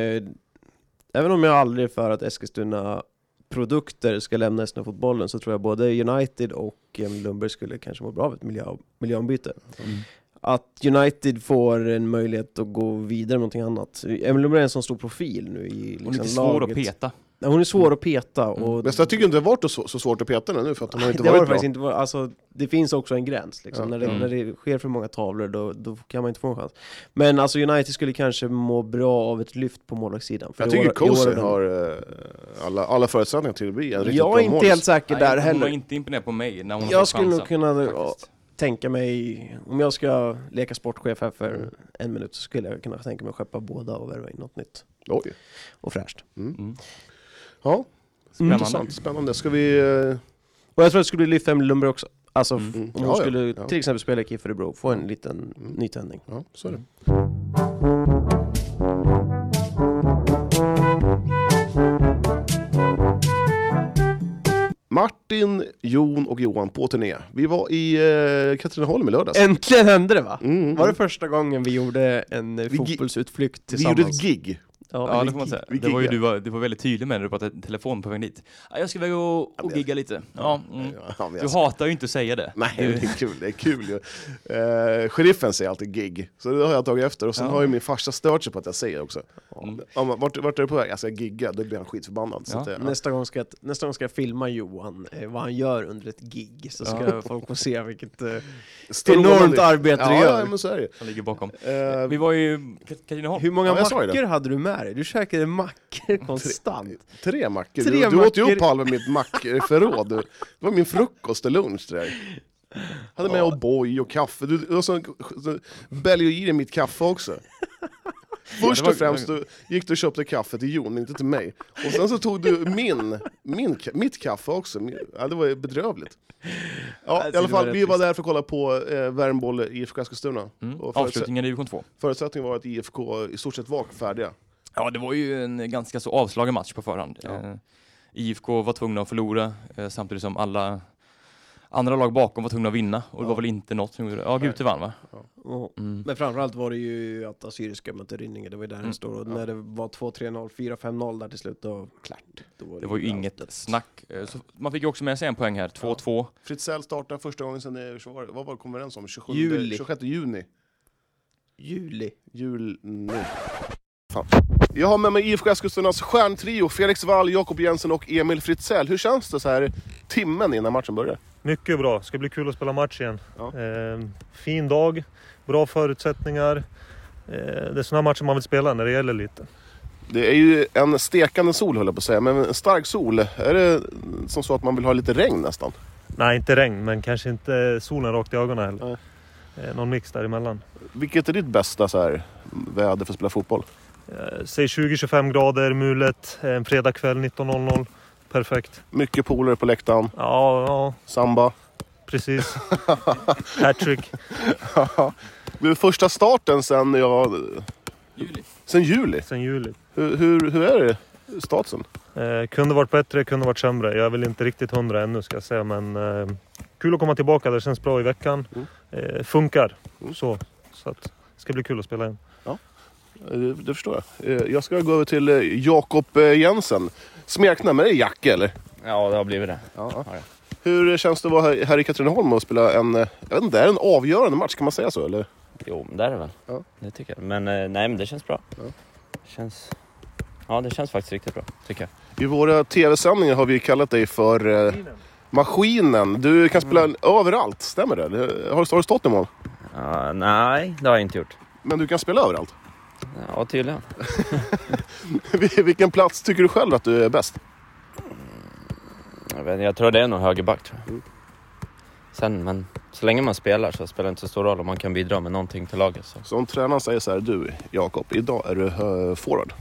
C: även om jag aldrig är för att Eskilstuna produkter ska lämna Eskilstuna-fotbollen så tror jag både United och eh, Lundberg skulle kanske må bra av ett miljö, miljöombyte.
A: Mm.
C: Att United får en möjlighet att gå vidare med någonting annat. Emil Lundberg är en sån stor profil nu i liksom,
A: Hon är lite svår
C: laget.
A: att peta.
C: Nej, Hon är svår att peta. Och
B: Mm. Men jag tycker inte det har varit så, så svårt att peta den nu för att de har inte
C: [LAUGHS] det, har
B: varit
C: det
B: bra.
C: faktiskt inte varit, alltså, det finns också en gräns, liksom.
B: Ja.
C: när, det,
A: Mm.
C: när det sker för många tavlor då, då kan man inte få en chans. Men alltså, United skulle kanske må bra av ett lyft på målvaktssidan. för
B: Jag
C: i
B: tycker
C: år- i år är
B: Cozy
C: de-
B: har eh, alla, alla förutsättningar till att bli en riktigt
C: Jag
B: bra
C: är inte helt säker
A: Nej,
C: där
A: Hon har
C: heller.
A: inte imponerat på mig när hon har
C: Jag
A: fått
C: skulle
A: chansen,
C: nog kunna
A: faktiskt.
C: tänka mig, om jag ska leka sportchef här för
B: Mm.
C: en minut så skulle jag kunna tänka mig att skeppa båda och värva in något nytt
B: Oj.
C: och fräscht.
A: Mm.
B: Ja,
C: Mm.
B: intressant. Spännande. Ska vi... eh,
C: Och jag tror att det skulle bli lyft för Emil Lundberg också. Alltså f-
B: Mm.
C: om hon
B: Ja, ja.
C: skulle
B: Ja. Mm.
C: till exempel spela i KIF Örebro, få en liten nytändning.
B: Ja, så är det. Martin, Jon och Johan på turné. Vi var i eh, Katrineholm i lördags.
C: Äntligen hände det va?
B: Mm, mm.
C: Var det första gången vi gjorde en eh,
B: Vi gi-
C: fotbollsutflykt
B: vi gjorde ett
C: tillsammans?
B: gig.
A: Ja, det får man säga.
B: vi
A: Det var ju
B: giggar.
A: du var, du var väldigt tydlig med när du pratade i telefon på vägen dit. Ja, Jag ska iväg och, och gigga lite. Ja, mm.
B: Ja, men
A: Du
B: jag-
A: hatar ju inte att säga det.
B: Nej,
A: Du-
B: det är kul. Det är kul ju. Eh, sheriffen säger alltid gig, så det har jag tagit efter. Och sen
A: Ja.
B: har ju min farsa stört sig på att jag säger också.
A: Mm.
B: Ja, men vart, vart är du på väg? Jag ska gigga, då blir han skitförbannad. Så
A: Ja.
B: att, eh,
C: Nästa gång, ska jag, nästa gång ska jag filma Johan, eh, vad han gör under ett gig, så ska folk få se vilket eh,
B: strålande-
C: enormt arbete du
B: ja,
C: gör. Eh,
B: Ja, men så är det Eh,
A: Han ligger bakom.
B: ju.
A: Vi var ju i Katrineholm.
C: Hur många
B: Ja, jag sa ju
C: mackor hade du med dig? Du käkade mackor konstant.
B: Eh, tre mackor.
C: Tre
B: du, du åt ju
C: mackor.
B: upp halva mitt mackförråd. Det var min frukost och lunch det där. Hade med O'boy och kaffe. Du, och så, så bälgade ju i dig mitt kaffe
C: [LAUGHS]
B: också. Först
A: var-
B: och främst du, gick du och köpte kaffe till Jon, inte till mig. Och sen så tog du min, min, ka- mitt kaffe också. Min- Ja, det var ju bedrövligt. Ja, i
C: Alltså,
B: alla
C: det var
B: fall, vi
C: rätt
B: var där för att kolla på eh, Värmboll IFK Eskilstuna.
A: Mm.
B: Och förutsätt-
A: Avslutningen i division 2.
B: Förutsättningen var att IFK i stort sett var färdiga.
A: Ja, det var ju en ganska så avslagen match på förhand.
B: Ja.
A: Eh, IFK var tvungna att förlora eh, samtidigt som alla andra lag bakom var tvungna att vinna. Och det var
B: Ja.
A: väl inte något som gjorde det. Ja, Gute vann va?
C: Ja.
A: Mm.
C: Men framförallt var det ju att Assyriska mötte Rynninge, det var ju där
A: Mm.
C: den står. Och när det var 2-3-0, 4-5-0 där till slut, då klart. Då
A: Det var ju inget snack. Eh, Så man fick ju också med sig en poäng här, 2-2.
B: Fritzell startar första gången sedan, det- vad var det- vad var det kom överens om? 27,
C: Juli.
B: 26 juni?
C: Juli.
B: Jul... Nej. Fan. Jag har med mig IFK Eskilstunas stjärntrio, Felix Wall, Jakob Jensen och Emil Fritzell. Hur känns det så här timmen innan matchen börjar?
D: Mycket bra. Ska bli kul att spela match igen.
B: Ja.
D: Eh, fin dag, bra förutsättningar. Eh, det är sådana matcher man vill spela när det gäller lite.
B: Det är ju en stekande sol höll jag på att säga, men en stark sol. Är det som så att man vill ha lite regn nästan?
D: Nej, inte regn, men kanske inte solen rakt i ögonen heller.
B: Nej.
D: Eh, någon mix däremellan.
B: Vilket är ditt bästa så här, väder för att spela fotboll?
D: Eh, säg 20-25 grader, mulet, eh, en fredagkväll 19.00. Perfekt.
B: Mycket polare på läktaren,
D: Ja, ja
B: samba. [LAUGHS]
D: precis. Hattrick.
B: Det är första starten sen, ja,
A: Juli.
B: sen juli.
D: Sen juli.
B: Hur, hur, hur är det, statsen?
D: Eh, kunde varit bättre, kunde varit sämre. Jag är väl inte riktigt hundra ännu ska jag säga, men eh, kul att komma tillbaka. Det känns bra i veckan.
B: Mm.
D: Eh, funkar.
B: Mm.
D: Så, så att, det ska bli kul att spela igen.
B: Eh, Det, det förstår jag. Eh, Jag ska gå över till eh, Jakob eh, Jensen. Smeknamn, är det Jacke eller?
E: Ja, det har blivit det.
B: Ja.
E: Ja, ja.
B: Hur känns det att vara här, här i Katrineholm och spela en, eh, jag vet inte, är det en avgörande match? Kan man säga så eller?
E: Jo, men det är det väl.
B: Ja.
E: Det tycker jag. Men eh, nej, men det känns bra.
B: Ja.
E: Det känns... Ja, det känns faktiskt riktigt bra, tycker jag.
B: I våra tv-sändningar har vi kallat dig för eh, Maskinen. Du kan spela överallt, stämmer det? Eller Har, du- har du stått i mål?
E: Ja, nej, det har jag inte gjort.
B: Men du kan spela överallt. [LAUGHS]
E: Ja, tydligen.
B: Vil- Vilken plats tycker du själv att du är bäst?
E: Jag, vet, inte, jag tror det är nog högerback, tror jag. Sen, men så länge man spelar så spelar det inte så stor roll om man kan bidra med någonting till laget. Så.
B: Som tränaren säger så här, du Jakob, idag är du eh, forward.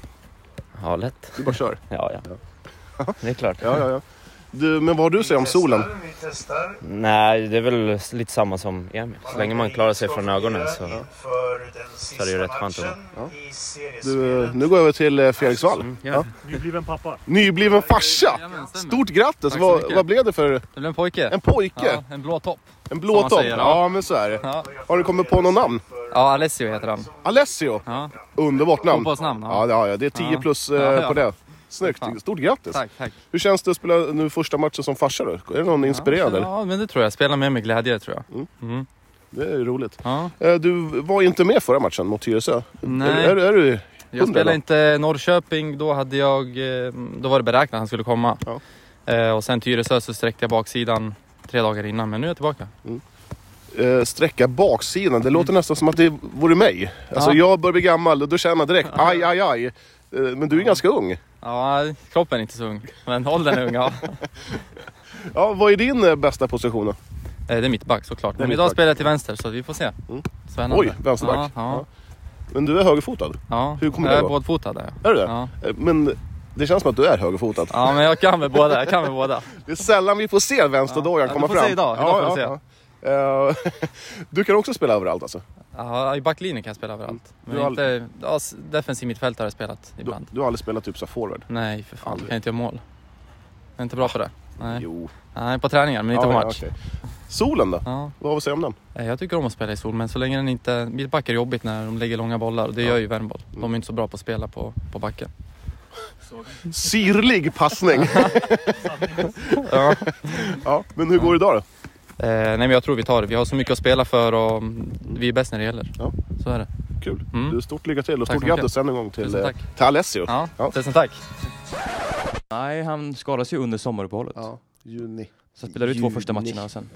E: Ja, lätt.
B: Du bara kör.
E: Ja, ja. Det är klart.
B: Ja, ja, ja. Du, men vad har du att säga om solen?
E: Nej, det är väl lite samma som Emil. Så länge man klarar sig från ögonen så...
F: så är det ju rätt skönt att
B: Ja.
F: vara.
B: Du, eh, nu går jag över till eh, Felix Wall.
G: Mm,
B: Ja.
D: Nybliven pappa.
B: Nybliven farsa! Stort grattis!
G: Tack så
B: Vad,
G: mycket.
B: vad blev det för
G: Det blev en pojke.
B: en pojke?
G: Ja, en blå topp.
B: en
G: som
B: blå
G: man
B: topp?
G: säger, ja.
B: Ja, men så är det.
G: Ja.
B: Har du kommit på något namn?
G: ja, Alessio heter han.
B: Alessio!
G: Ja.
B: Underbart namn!
G: Fotbollsnamn.
B: Ja,
G: Ja.
B: det har jag. Det är 10
G: Ja.
B: plus eh,
G: Ja, ja.
B: på det. Snyggt,
A: Fan.
B: stort grattis!
A: Tack, tack.
B: Hur känns det att spela nu första matchen som farsa då? Är det någon inspirerad eller?
A: Ja, men det tror jag. Spela med mig glädje tror jag.
H: Mm.
B: Det är ju roligt.
A: Ja.
B: Eh, Du var inte med förra matchen mot Tyresö.
A: Nej.
B: Är, är, är du...
A: Jag
B: Hundra då?
A: spelade inte Norrköping, då, hade jag, eh, då var det beräknat att han skulle komma.
B: Ja.
A: Eh, Och sen Tyresö så sträckte jag baksidan tre dagar innan, men nu är jag tillbaka.
B: eh, sträcka baksidan. Det låter nästan som att det vore mig. Alltså
A: Ja.
B: jag börjar bli gammal och då känner man direkt aj, aj, aj. Eh, Men du är ganska ung.
A: Ja, kroppen är inte så ung, men åldern är ung. Ja.
B: Ja, vad är din eh, bästa position då?
A: [LAUGHS] Eh, Det är mittback såklart,
B: Det är
A: men idag
B: mittback.
A: spelar jag till vänster så vi får se.
B: Mm.
A: Spännande.
B: Oj, vänsterback.
A: Ja, ja,
B: Men du är högerfotad.
A: ja.
B: Hur kommer det
A: jag är
B: gå?
A: bådfotad. där.
B: Är du det?
A: Ja.
B: Eh, Men det känns som att du är högerfotad.
A: ja, men jag kan med båda. Jag kan med båda.
B: Det är sällan vi får se
A: Ja,
B: vänsterdojan
A: du
B: komma
A: får
B: fram.
A: se idag. Idag får jag
B: ja. Eh, [LAUGHS] Du kan också spela överallt alltså?
A: Ja, I backlinjen kan jag spela överallt. Men
B: Mm. Du har
A: inte, ja, s- defensiv mittfältare har jag spelat
B: Du,
A: ibland.
B: du har aldrig spelat typ så här forward?
A: Nej, för fan.
B: Aldrig.
A: Jag kan inte göra mål. Jag är inte bra på det. Nej,
B: Jo.
A: Nej på träningar, men inte
B: Ja,
A: på
B: ja,
A: match.
B: okej. Solen då?
A: Ja,
B: Vad har vi att säga om den?
A: eh, jag tycker om att spela i sol, men så länge den inte... Mittback är jobbigt när de lägger långa bollar och det gör ju Värmboll. De
B: Mm.
A: är inte så bra på att spela på, på backen.
B: Syrlig passning!
A: [LAUGHS] Ja.
B: ja, men hur går det idag då?
A: Eh, nej, men jag tror vi tar det. Vi har så mycket att spela för och mm, vi är bäst när det gäller.
B: Ja.
A: Så är det.
B: Kul.
A: Mm.
B: Du, stort lycka till och
A: Tack
B: stort
A: så mycket.
B: grattis än en gång till,
A: Tusen
B: eh,
A: tack.
B: till Alessio.
A: Ja,
B: Ja.
A: tusen tack.
H: Nej, han skadades ju under sommaruppehållet.
B: Ja, juni.
H: Så spelade du två första
B: Juni.
H: matcherna och sen.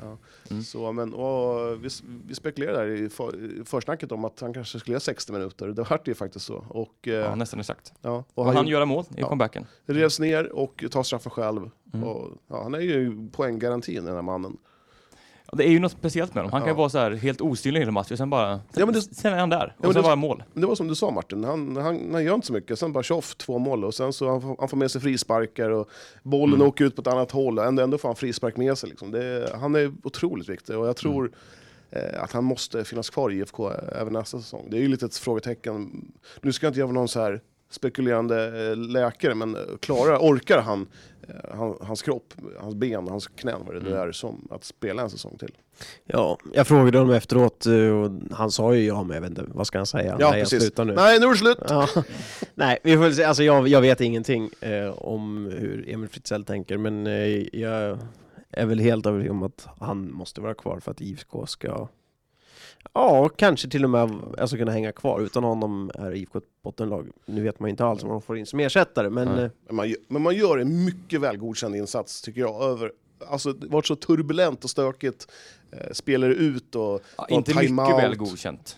H: Mm.
B: Så, men, och, vi, vi spekulerade där i, för, i försnacket om att han kanske skulle göra 60 minuter. Det vart ju faktiskt så. Och, eh,
H: Ja, nästan exakt.
B: ja,
H: Och
B: och
H: han,
B: han
H: göra mål i
B: Ja.
H: comebacken.
B: revs ner och tar straffen själv.
H: Mm.
B: Och, ja, han är ju poänggarantin den här mannen.
H: Ja, Det är ju något speciellt med honom. Han kan
B: Ja.
H: ju vara så här helt osynlig i hela matchen och sen bara...
B: Ja, men det-
H: Sen är han där. Och
B: men
H: sen
B: det-
H: bara mål.
B: Men det var som du sa Martin, han, han, han gör inte så mycket. Sen bara tjoff, två mål och sen så han, får- han får med sig frisparkar och bollen åker ut på ett annat håll. Och ändå, ändå får han frispark med sig. Liksom. Det, är- han är otroligt viktig och jag tror eh, att han måste finnas kvar i IFK även nästa säsong. Det är ju lite ett frågetecken. Nu ska jag inte göra någon så här spekulerande eh, läkare, men eh, klarar, orkar han, eh, han hans kropp, hans ben, hans knän, vad det nu är, som att spela en säsong till?
C: Ja, jag frågade honom efteråt eh, och han sa ju ja, men jag vet inte, vad ska han säga?
B: Ja,
C: Nej,
B: precis.
C: jag slutar nu.
B: Nej, nu är det slut!
C: Ja, [LAUGHS] nej, vi får väl se. Alltså, jag, jag vet ingenting eh, om hur Emil Fritzell tänker, men eh, jag är väl helt övertygad om att han måste vara kvar för att IFK ska Ja, kanske till och med alltså, kunna hänga kvar. Utan honom är IFK ett bottenlag. Nu vet man ju inte alls vad de får in som ersättare, men...
A: Nej.
C: eh,
B: Men man, gö- men man gör en mycket väl godkänd insats tycker jag. Över, alltså, det varit så turbulent och stökigt. Eh, spelare ut och...
H: Ja,
B: ta
H: inte mycket
B: timeout.
H: väl godkänt.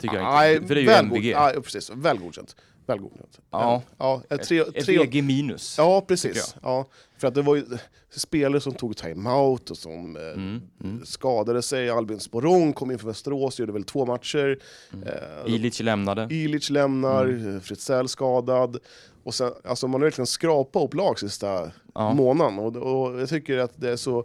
H: Tycker jag
B: Aj,
H: inte. För det är ju
B: väl
H: MVG.
B: god- aj, precis, väl godkänt. Väl godkänt.
H: Ja.
B: ja eh, tre,
H: Ett
B: tre,
H: VG minus.
B: ja,
H: tycker
B: precis. Ja, för att det var ju spelare som tog timeout och som eh,
H: Mm, mm.
B: skadade sig. Albin Sporong kom in för Västerås, gjorde väl två matcher.
H: Mm.
B: Eh,
H: Ilic lämnade.
B: Ilic lämnar,
H: Mm.
B: Fritzell skadad. Och sen, alltså man har verkligen skrapat upp lag sista
H: Ja.
B: månaden. Och, och jag tycker att det är så...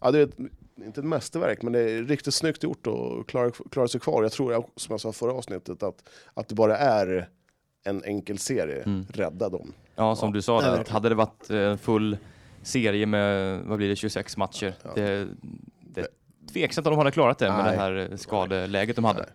B: Ja, det är ett, inte ett mästerverk, men det är riktigt snyggt gjort och klarar klara sig kvar. Jag tror, som jag sa förra avsnittet, att, att det bara är en enkel serie.
H: Mm.
B: Rädda dem.
H: Ja, som
B: Ja,
H: du sa,
B: nej,
H: där, att
B: verkligen.
H: hade det varit eh, full serie med, vad blir det, 26 matcher.
B: Ja.
H: Det, det är tveksamt om de hade klarat det med
B: Nej.
H: det här eh, skadeläget de hade.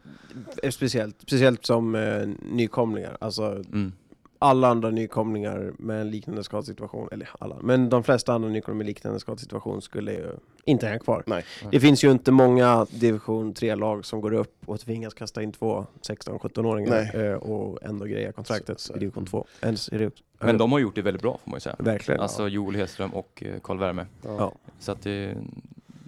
C: eh, speciellt, speciellt som eh, nykomlingar. Alltså,
H: Mm.
C: alla andra nykomlingar med en liknande skadesituation, eller alla, men de flesta andra nykomlingar med liknande skadesituation skulle ju inte hänga kvar.
B: Nej.
H: Mm.
C: Det finns ju inte många division 3-lag som går upp och tvingas kasta in två 16-17-åringar
B: Nej.
C: eh, och ändå greja kontraktet
B: Så- så är det.
C: i division 2. Ens i det,
H: Men de har gjort det väldigt bra får man ju säga.
C: Verkligen.
H: Alltså Joel Hedström och eh, Karl Värme.
C: Ja.
H: Så att det,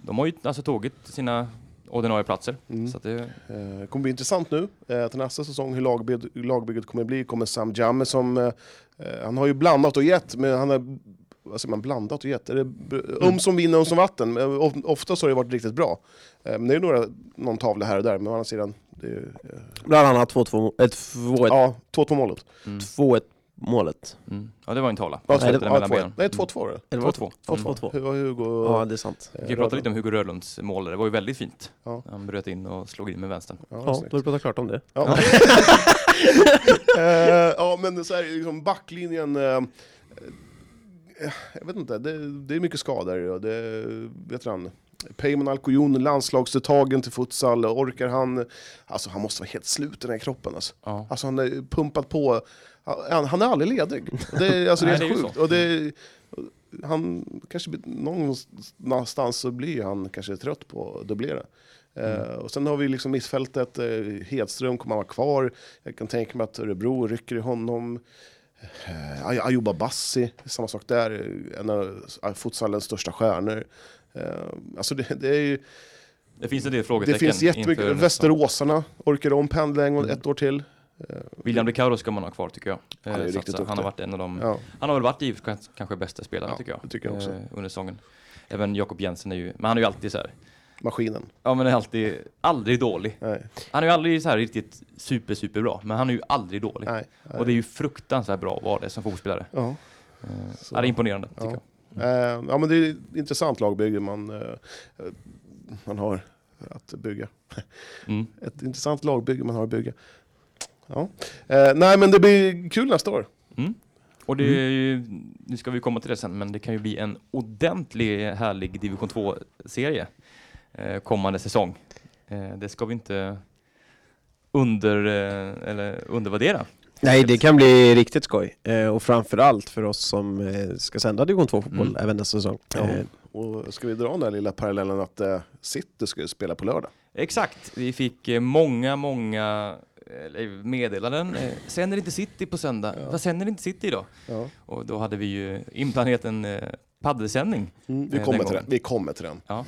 H: de har ju alltså tagit sina ordinarie platser.
B: Mm.
H: Så att det,
B: Eh, kommer bli intressant nu eh, till nästa säsong hur lagbygget, lagbygget kommer bli. Kommer Sam Jamme som, eh, eh, han har ju blandat och gett, men han har vad säger man, blandat och gett. Är det br-
H: Mm.
B: um som vinner, um som vatten. Men of- Oftast har det varit riktigt bra. Eh, men det är några, någon tavla här och där, men å andra sidan, det är, ju, eh,
C: Bland annat 2-2 eh, 2-1
B: ja, 2-2 målet.
C: 2-1 målet.
H: mm. Ja, det var en tavla.
B: Ja,
H: Jag sätter
B: två-
H: den
B: ja,
H: mellan
B: två-
H: benen.
B: Nej, 2-2 var det.
C: Eller var det
H: 2-2.
C: två- två- två.
B: Hur var Hugo?
C: Ja, det är sant.
H: Vi kan prata lite om Hugo Rödlunds mål. där. Det var ju väldigt fint.
B: Ja.
H: Han bröt in och slog in med vänstern.
B: Ja,
C: Ja,
B: snyggt.
C: då har vi pratat klart om det.
B: Ja. [LAUGHS] Eh, ja, men så här, liksom backlinjen... eh, eh, jag vet inte, det, det är mycket skador och det... Vet han, Peyman Alcoyon, landslagsuttagen till futsal, orkar han? Alltså han måste vara helt slut i den här kroppen alltså.
H: Ja.
B: Alltså han är pumpad på, han, han är aldrig ledig. Det är, alltså, det är,
H: Nej, det är ju
B: sjukt.
H: så. Mm.
B: Och det är, han kanske blir- någonstans så blir han kanske trött på att dubblera.
H: Mm.
B: Eh, och sen har vi liksom mittfältet, eh, Hedström kommer att vara kvar. Jag kan tänka mig att Örebro rycker i honom. Eh, Ay- Ayuba Bassi, samma sak där, eh, en av futsalens största stjärnor. Eh, alltså det, det är ju,
H: Det finns en del
B: det
H: frågetecken.
B: finns
H: inför
B: jättemycket,
H: nästa. Mm.
B: Västeråsarna orkar om pendling och ett år till.
H: William De Caro ska man ha kvar tycker jag.
B: är
H: Eh,
B: riktigt
H: satsa.
B: duktig.
H: han har varit en av dem.
B: Ja.
H: Han har väl varit IFs kans- kanske bästa spelare
B: Ja,
H: tycker jag.
B: det tycker jag också.
H: eh, Under säsongen. Även Jakob Jensen är ju, men han är ju alltid så här.
B: Maskinen.
H: Ja men är alltid, aldrig dålig.
B: Nej.
H: Han är ju aldrig så här riktigt super super bra, men han är ju aldrig dålig.
B: Nej.
H: Och det är ju fruktansvärt bra att vara det som fotbollsspelare.
B: Ja.
H: Eh,
B: Mm, Så.
H: ja, det är imponerande tycker
B: Ja.
H: jag. Mm.
B: Eh, ja, men det är ett intressant lagbygge man, eh, eh, man har att bygga.
H: Mm.
B: [LAUGHS] Ett intressant lagbygge man har att bygga. Ja. Eh, nej, men det blir kul nästa år.
H: Och det är ju,
B: Mm.
H: nu ska vi komma till det sen, men det kan ju bli en ordentlig härlig division 2-serie eh, kommande säsong. Eh, det ska vi inte under, eh, eller undervärdera.
C: Nej, det kan bli riktigt skoj. Eh, och framförallt för oss som eh, ska sända division 2-fotboll
H: Mm.
C: även nästa säsong.
B: Ja.
C: Eh,
B: Och ska vi dra den här lilla parallellen att eh, City ska ju spela på lördag?
H: Exakt, vi fick eh, många, många eh, meddelanden. Eh, sänder inte City på söndag?
B: Ja.
H: Vad sänder inte City idag?
B: Ja.
H: Och då hade vi ju inplanerat en eh, paddelsändning.
B: Mm, vi,
H: Eh,
B: kommer
H: den
B: till den.
H: gången.
B: vi kommer till den.
H: Ja.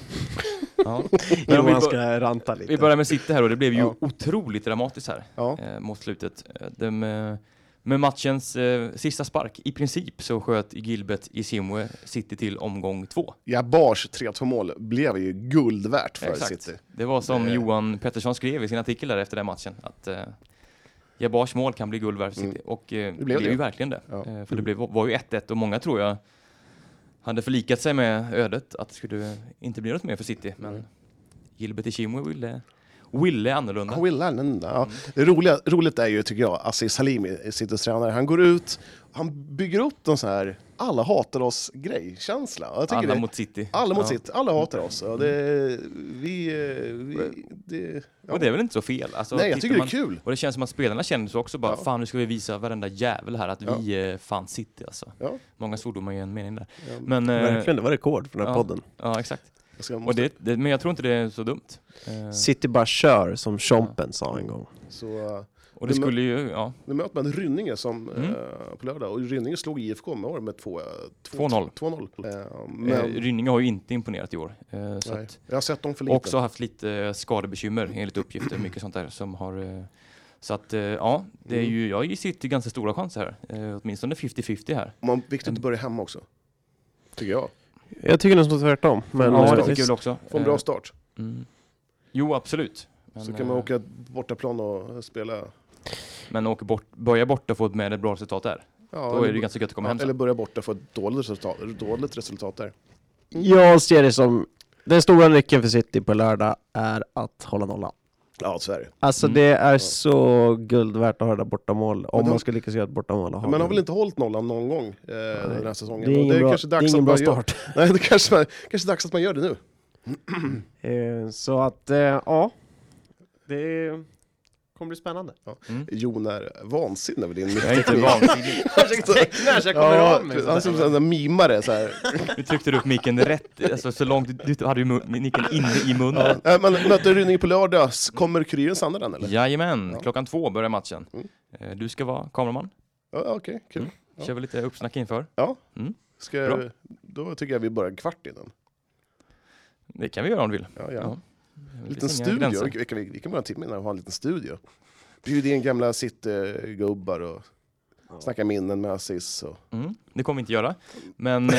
H: Men om vi,
C: Johan
H: bör-
C: ska ranta lite.
H: vi börjar med City här och det blev ju
B: Ja.
H: otroligt dramatiskt här.
B: Ja.
H: eh, mot slutet. Eh, De, eh, med matchens eh, sista spark, i princip, så sköt Gilbert Isimwe City till omgång två.
B: Jabars 3-2 mål blev ju guld värt för
H: Exakt.
B: City.
H: Det var som
B: Det-
H: Johan Pettersson skrev i sin artikel där efter den matchen, att eh, Jabars mål kan bli guld värt för City. Och eh, det
B: blev
H: blev
B: Mm. det.
H: ju verkligen det.
B: Ja.
H: Eh, för det blev, var ju 1-1 och många tror jag hade förlikat sig med ödet att det skulle inte bli något mer för City.
B: Mm.
H: Men Gilbert Isimwe ville, ville annorlunda.
B: Han vill använda. Ja. Det roliga, roligt är ju, tycker jag, Aziz Halimi, Citys tränare, han går ut, han bygger upp någon sån här alla hatar oss-grej-känsla. Jag tycker
H: Alla
B: det,
H: mot City.
B: alla mot
H: Ja. Mm.
B: sitt, alla hatar oss. Och det, vi, eh, vi, det, ja.
H: Och det är väl inte Mm. så fel? Alltså,
B: Nej, jag
H: tittar
B: tycker det är
H: man-
B: kul.
H: Och det känns som att spelarna känner så också bara,
B: Ja.
H: fan nu ska vi visa varenda jävel här att vi eh, fan sitter alltså.
B: Ja.
H: Många svordomar i en mening där.
B: Ja.
H: Men, eh,
C: Verkligen, det var rekord för den här
H: ja.
C: podden.
H: Ja, exakt.
B: Jag ska,
H: Och
B: måste,
H: det, det, men jag tror inte det är så dumt. Eh,
C: City bara kör, som Chompen sa en gång.
B: så, eh,
H: och
B: men-
H: det skulle ju, ja, eh,
B: nu möter man Rynninge som,
H: Mm.
B: eh, på lördag, och Rynninge slog IFK med år med 2-0.
H: 2-0.
B: 2-0. Eh,
H: eh,
B: men,
H: Rynninge har ju inte imponerat i år. Eh, så
B: nej,
H: att,
B: jag har sett dem för lite.
H: också haft lite eh, skadebekymmer enligt uppgifter, mycket sånt där som har eh, så att eh, ja, det
B: Mm.
H: är ju, jag sitter ganska stora chanser här. Eh, åtminstone 50-50 här.
B: Man,
H: Mm.
B: viktigt att börja hemma också, tycker jag.
C: Jag tycker nästan tvärtom. Men
H: ja,
B: eh,
H: det
B: visst.
H: tycker jag väl också.
B: Få en
H: Eh,
B: bra start.
H: Mm. Jo, absolut. Men,
B: Så kan man
H: eh,
B: åka bortaplan och spela.
H: men åker bort, börja bort och få med ett bra resultat där.
B: Ja,
H: Då
B: eller,
H: är det ganska gött att komma hem sen.
B: eller börja borta och få ett dåligt resultat, dåligt resultat där.
C: jag ser det som, den stora nyckeln för City på lördag är att hålla nollan.
B: Ja, så är det.
C: Alltså
H: Mm.
C: det är så guld värt att ha det där bortamål, om
B: de-
C: man ska lyckas göra ett bortamål. och ha
B: Men man har
C: det.
B: väl inte hållit nollan någon gång eh, den här
C: det
B: säsongen?
C: är
B: Och
C: ingen bra,
B: kanske
C: det är
B: dags att
C: ingen bra
B: man gör-
C: start.
B: [LAUGHS] Nej, det kanske, man- kanske är dags att man gör det nu.
C: Eh, Så att, eh, ja. Det kommer bli [LAUGHS] spännande.
B: Jon är vansinnig över din mitt.
H: Mm. Jag är inte
B: [LAUGHS]
H: vansinnig.
C: Försöker teckna så jag kommer
B: Ja,
C: av mig. Alltså,
B: Han är som en sån där mimare så här.
H: [LAUGHS] Nu tryckte du upp micken rätt, alltså så långt, du hade ju mun- micken inne i munnen.
B: Eh, Man möter Rynninge på lördag, S- kommer Kuriren sanna den eller?
H: Jajamän,
B: Ja.
H: klockan två börjar matchen.
B: Mm.
H: Eh, Du ska vara kameraman,
B: Ja, Okej, kul. Ja.
H: kör vi lite uppsnack inför.
B: Ska
H: Mm. Bra.
B: jag, då tycker jag vi börjar en kvart innan.
H: Det kan vi göra om du vill.
B: Ja,
H: Ja.
B: ja.
H: Det
B: liten
H: finns inga
B: studio,
H: gränser.
B: vi kan, vi, vi kan börja en timme innan och ha en liten studio. Bjuda in gamla City-gubbar och snacka minnen med Aziz. Och...
H: Mm, det kommer vi inte göra.
B: [LAUGHS]
H: Men eh,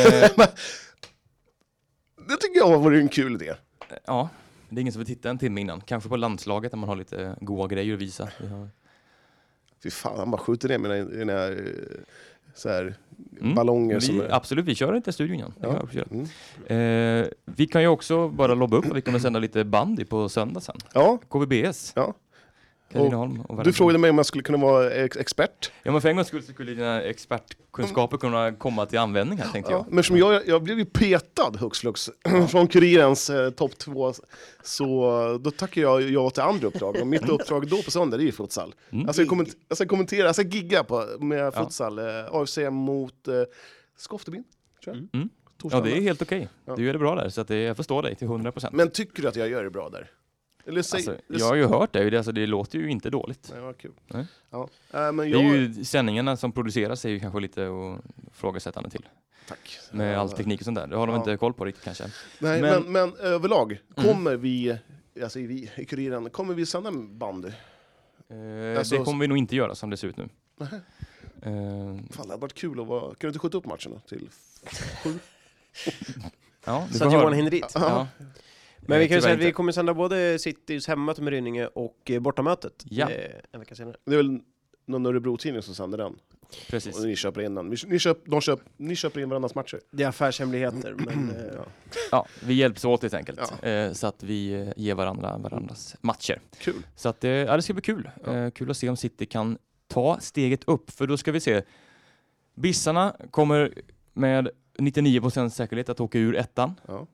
B: Det tycker jag vore en kul idé.
H: ja, det är ingen som vill titta en timme innan. Kanske på landslaget där man har lite eh, goa grejer att visa. Vi har-
B: Fy fan, han bara skjuter ner mina, mina eh, så här,
H: Mm,
B: ballonger. som
H: Vi,
B: är...
H: absolut, vi kör inte studion igen.
B: Ja.
H: Det kan jag absolut.
B: Mm.
H: Eh, vi kan ju också bara lobba upp att vi kommer sända lite bandy på söndag sen.
B: Ja,
H: KVBS.
B: Ja.
H: Katrineholm och
B: Du
H: Värmdö.
B: frågade mig om jag skulle kunna vara ex- expert.
H: Ja men för en gångs skull så skulle dina expertkunskaper kunna komma till användning här tänkte jag.
B: Men som jag, jag blev ju petad hux flux [CLEARS THROAT] från Kurirens eh, topp två, så eh, då tackar jag ja till andra uppdrag. Och mitt uppdrag då på söndag, det är ju futsal. Jag, ska komment- jag ska kommentera, jag ska gigga på, med
H: Mm. Ja.
B: futsal. Eh, AFC mot eh, Skoftebyn, tror jag.
H: Mm. Ja
B: Torslanda.
H: det är helt okej. Du gör det bra där så att det, jag förstår dig till 100%.
B: Men tycker du att jag gör det bra där? Eller säg...
H: Alltså, jag har ju hört det, det- alltså, det låter ju inte dåligt.
B: Nej, vad kul.
H: Nej.
B: Ja. Äh, men
H: Det är
B: jag...
H: ju sändningarna som produceras är ju kanske lite och frågasättande till.
B: Tack.
H: Med
B: Ja.
H: all teknik och sånt där. Det har de
B: Ja.
H: inte koll på riktigt kanske.
B: Nej, men,
H: Men- Mm.
B: men, överlag, kommer vi, alltså i vi i Kuriren, kommer vi sända bandy?
H: Eh,
B: Alltså-
H: det kommer vi nog inte göra som det ser ut nu. Eh,
B: Fan, det hade varit kul att vara... Kan du inte skjuta upp matchen då? Till sju?
H: ja, du
C: Så
H: får
C: att Johan
H: höra.
C: hinner dit.
H: Ja.
C: Men vi
H: Eh,
C: kan ju säga att
H: tyvärr
C: vi
H: inte.
C: kommer sända både Citys hemmamöte med Rynninge och eh, bortamötet
H: Ja.
C: eh, en vecka senare.
B: Det är väl någon Örebro-tidning som sänder den?
H: Precis.
B: Och ni köper in den. Ni, ni, köp, de köp, ni köper in varandras matcher?
C: Det är affärshemligheter, men eh, ja.
H: Ja, vi hjälps åt helt enkelt. Eh, så att vi eh, ger varandra varandras matcher.
B: Kul.
H: Så att, eh, ja, det ska bli kul. Eh, kul att se om City kan ta steget upp, för då ska vi se. Bissarna kommer med 99 säkerhet att åka ur ettan.
B: Ja.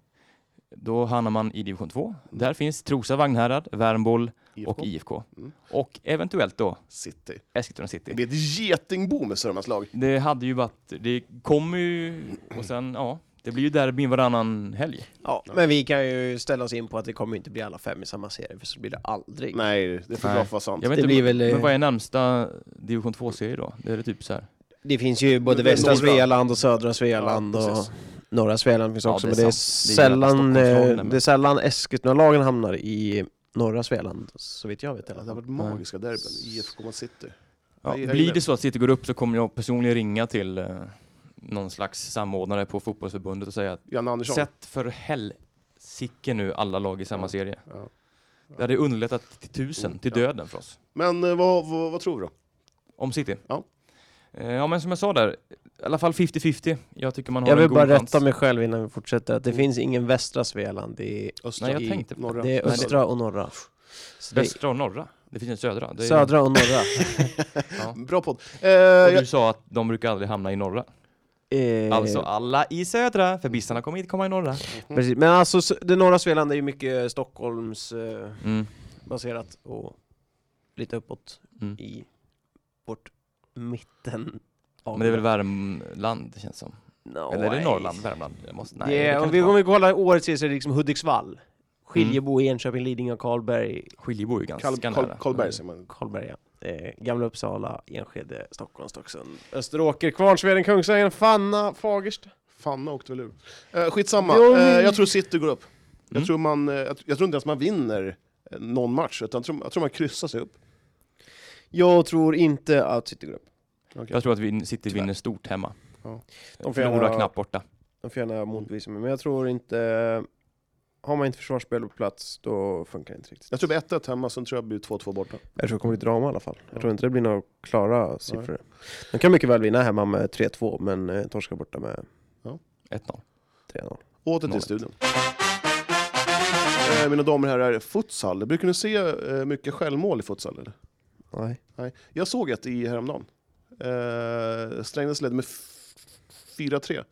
H: Då hamnar man i division 2. Där finns Trosa, Vagnhärad, Värmboll
B: IFK.
H: och IFK.
B: Mm.
H: Och eventuellt då
B: City.
H: Eskilstuna
B: Det
H: City.
B: blir ett getingbo med Sörmlands lag.
H: Det hade ju varit, det kommer ju, och sen ja, det blir ju derby varannan helg.
C: ja. Men vi kan ju ställa oss in på att det kommer inte bli alla fem i samma serie, för så blir det aldrig.
B: Nej, det får bra
H: Nej.
B: för att vara sant.
H: Jag vet
C: Det
H: inte,
C: blir väl, eh,
H: men vad är närmsta division 2-serie då? Det är det typ så här.
C: Det finns ju både
B: Men det är
C: västra
B: norra.
C: Svealand och södra Svealand
B: Ja,
C: och
B: precis.
C: norra Svealand finns
H: Ja,
C: också,
H: det är
C: men det är,
H: sant. Det är ju alla
C: sällan,
H: Stockholmslagen
C: eh,
H: där med.
C: det är sällan Eskilstuna-lagen hamnar i norra Svealand, så vitt jag vet.
B: Det
C: i alla
B: hade
C: fall.
B: varit magiska derbyn. IFK mot City.
H: Ja,
B: Jag- jag
H: blir
B: gillar
H: det så att City går upp så kommer jag personligen ringa till eh, någon slags samordnare på fotbollsförbundet och säga att
B: Janne Andersson.
H: sätt för helsike nu alla lag i samma serie.
B: Ja.
H: Det hade underlättat till tusen, till
B: Ja.
H: döden för oss.
B: Men eh, vad, vad, vad tror du då?
H: Om City.
B: Ja.
H: Eh, ja men som jag sa där, i alla fall 50-50. Jag tycker man har
C: Jag
H: en
C: vill
H: god
C: bara
H: chans. Mm.
C: rätta mig själv innan vi fortsätter, att det finns ingen västra Svealand, det är,
B: Östra?
H: Nej jag
C: i
H: tänkte på
B: Norra?
C: det är
H: Nej,
C: östra och norra. Så det
H: västra och norra. Det finns en södra. Det
C: är
H: är,
C: södra och
H: [LAUGHS]
C: norra.
B: Bra podd. Eh,
H: Och
B: jag,
H: du sa att de brukar aldrig hamna i norra.
C: Eh,
H: Alltså alla i södra, för bissarna kommer inte komma i norra.
B: Mm.
C: precis. Men alltså, s- det norra Svealand är ju mycket eh, Stockholmsbaserat
H: Mm.
C: och lite uppåt
H: Mm.
C: i vårt mitten. av-
H: Men det är väl Värmland känns som.
C: No,
H: Eller är det
C: nej.
H: Norrland, Värmland? Jag måste, nej,
C: det
H: det
C: är,
H: kan
C: om,
H: inte
C: vi,
H: vara.
C: om vi kollar årets serie så är det liksom Hudiksvall, Skiljebo,
H: Mm.
C: Enköping, Lidingö, Karlberg,
H: Skiljebo är ju ganska
B: Karl, Karl,
H: nära.
B: Karlberg säger man.
C: Karlberg ja. eh, Gamla Uppsala, Enskede, Stockholm, Stocksund, Österåker, Kvarnsveden, Kungsängen, Fanna, Fagersta.
B: Fanna åkte väl ur. Eh, skitsamma,
C: Jo,
B: eh,
C: men-
B: jag tror City går upp.
H: Mm.
B: Jag, tror man, eh, jag, jag tror inte ens man vinner eh, någon match, utan jag tror, jag tror man kryssar sig upp.
C: Jag tror inte att City går upp.
H: Jag tror att vi City vinner stort hemma.
B: Ja.
H: De
C: De får
H: får Förlorar
C: gärna-
H: knappt borta.
C: De får gärna motbevisa mig, men jag tror inte... Har man inte försvarsspel på plats, då funkar det inte riktigt.
B: Jag tror det blir 1-1 hemma, sen tror jag det blir 2-2 borta.
C: Jag tror det kommer bli drama i alla fall. Jag tror inte det blir några klara siffror. De kan mycket väl vinna hemma med 3-2, men eh, torska borta med
H: 1-0.
C: 3-0.
B: Åter till
H: Noll ett.
B: studion. Eh, mina damer och herrar, futsal. Brukar ni se eh, mycket självmål i futsal? Eller?
C: Nej.
B: Nej. Jag såg ett i häromdagen. Eh, Strängnäs ledde med f- 4-3.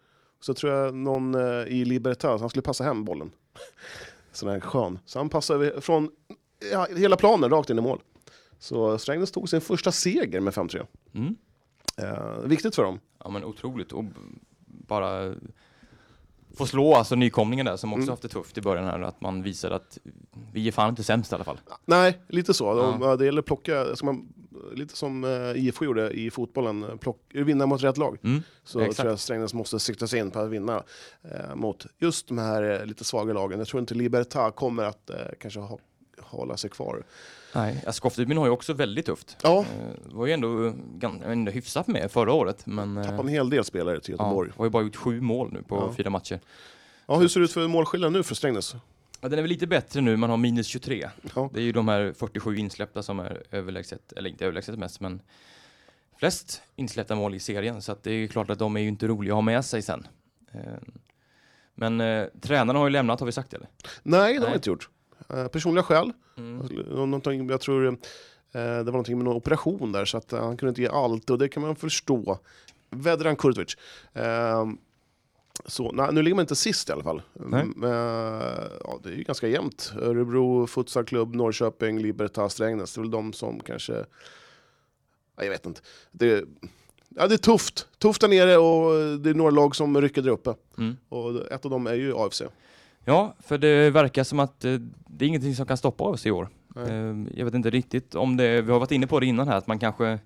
B: Så tror jag någon eh, i Libertas, han skulle passa hem bollen. [LAUGHS] Sån här skön. Så han passade över- från ja, hela planen rakt in i mål. Så Strängnäs tog sin första seger med 5-3.
H: Mm.
B: Eh, viktigt för dem.
H: Ja men otroligt. Och b- bara få slå alltså nykomlingen där som också
B: Mm.
H: haft det tufft i början här. Att man visade att vi är fan inte sämst i alla fall.
B: Nej, lite så. De,
H: Ja.
B: eh, Det gäller att plocka, ska man, lite som eh, IFK gjorde i fotbollen, eh, plock, vinna mot rätt lag.
H: Mm.
B: Så
H: Exakt.
B: tror jag Strängnäs måste sikta sig in på att vinna eh, mot just de här eh, lite svaga lagen. Jag tror inte Libertad kommer att eh, kanske ha, hålla sig kvar.
H: Nej, ja, Skoftebyn har ju också väldigt tufft.
B: Ja,
H: Eh, var ju ändå, gan- ändå hyfsat med förra året. Men, eh,
B: tappade en hel del spelare till Göteborg.
H: ja, har ju bara gjort sju mål nu på
B: Ja.
H: fyra matcher.
B: Ja. hur ser det ut för målskillnad nu för Strängnäs?
H: Ja, den är väl lite bättre nu, man har minus 23.
B: Ja.
H: Det är ju de här 47 insläppta som är överlägset, eller inte överlägset mest, men flest insläppta mål i serien. Så att det är ju klart att de är ju inte roliga att ha med sig sen. Eh, Men eh, tränarna har ju lämnat, har vi sagt det eller?
B: Nej, det har
H: Nej.
B: vi inte gjort. Eh, personliga skäl.
H: Mm.
B: Någonting, jag tror Eh, Det var någonting med någon operation där, så att eh, han kunde inte ge allt och det kan man förstå. Vedran Kurtovic. Eh, Så, nej, nu ligger man inte sist i alla fall.
H: Nej.
B: Mm, eh, ja, det är ju ganska jämnt. Örebro, Futsalklubb, Norrköping, Libertas, Strängnäs. Det är väl de som kanske... Ja, jag vet inte. Det, ja, det är tufft. Tufft där nere och det är några lag som rycker där uppe.
H: Mm.
B: Och ett av dem är ju AFC.
H: Ja, för det verkar som att eh, det är ingenting som kan stoppa oss i år.
B: Nej.
H: Eh, Jag vet inte riktigt om det, vi har varit inne på det innan här, att man kanske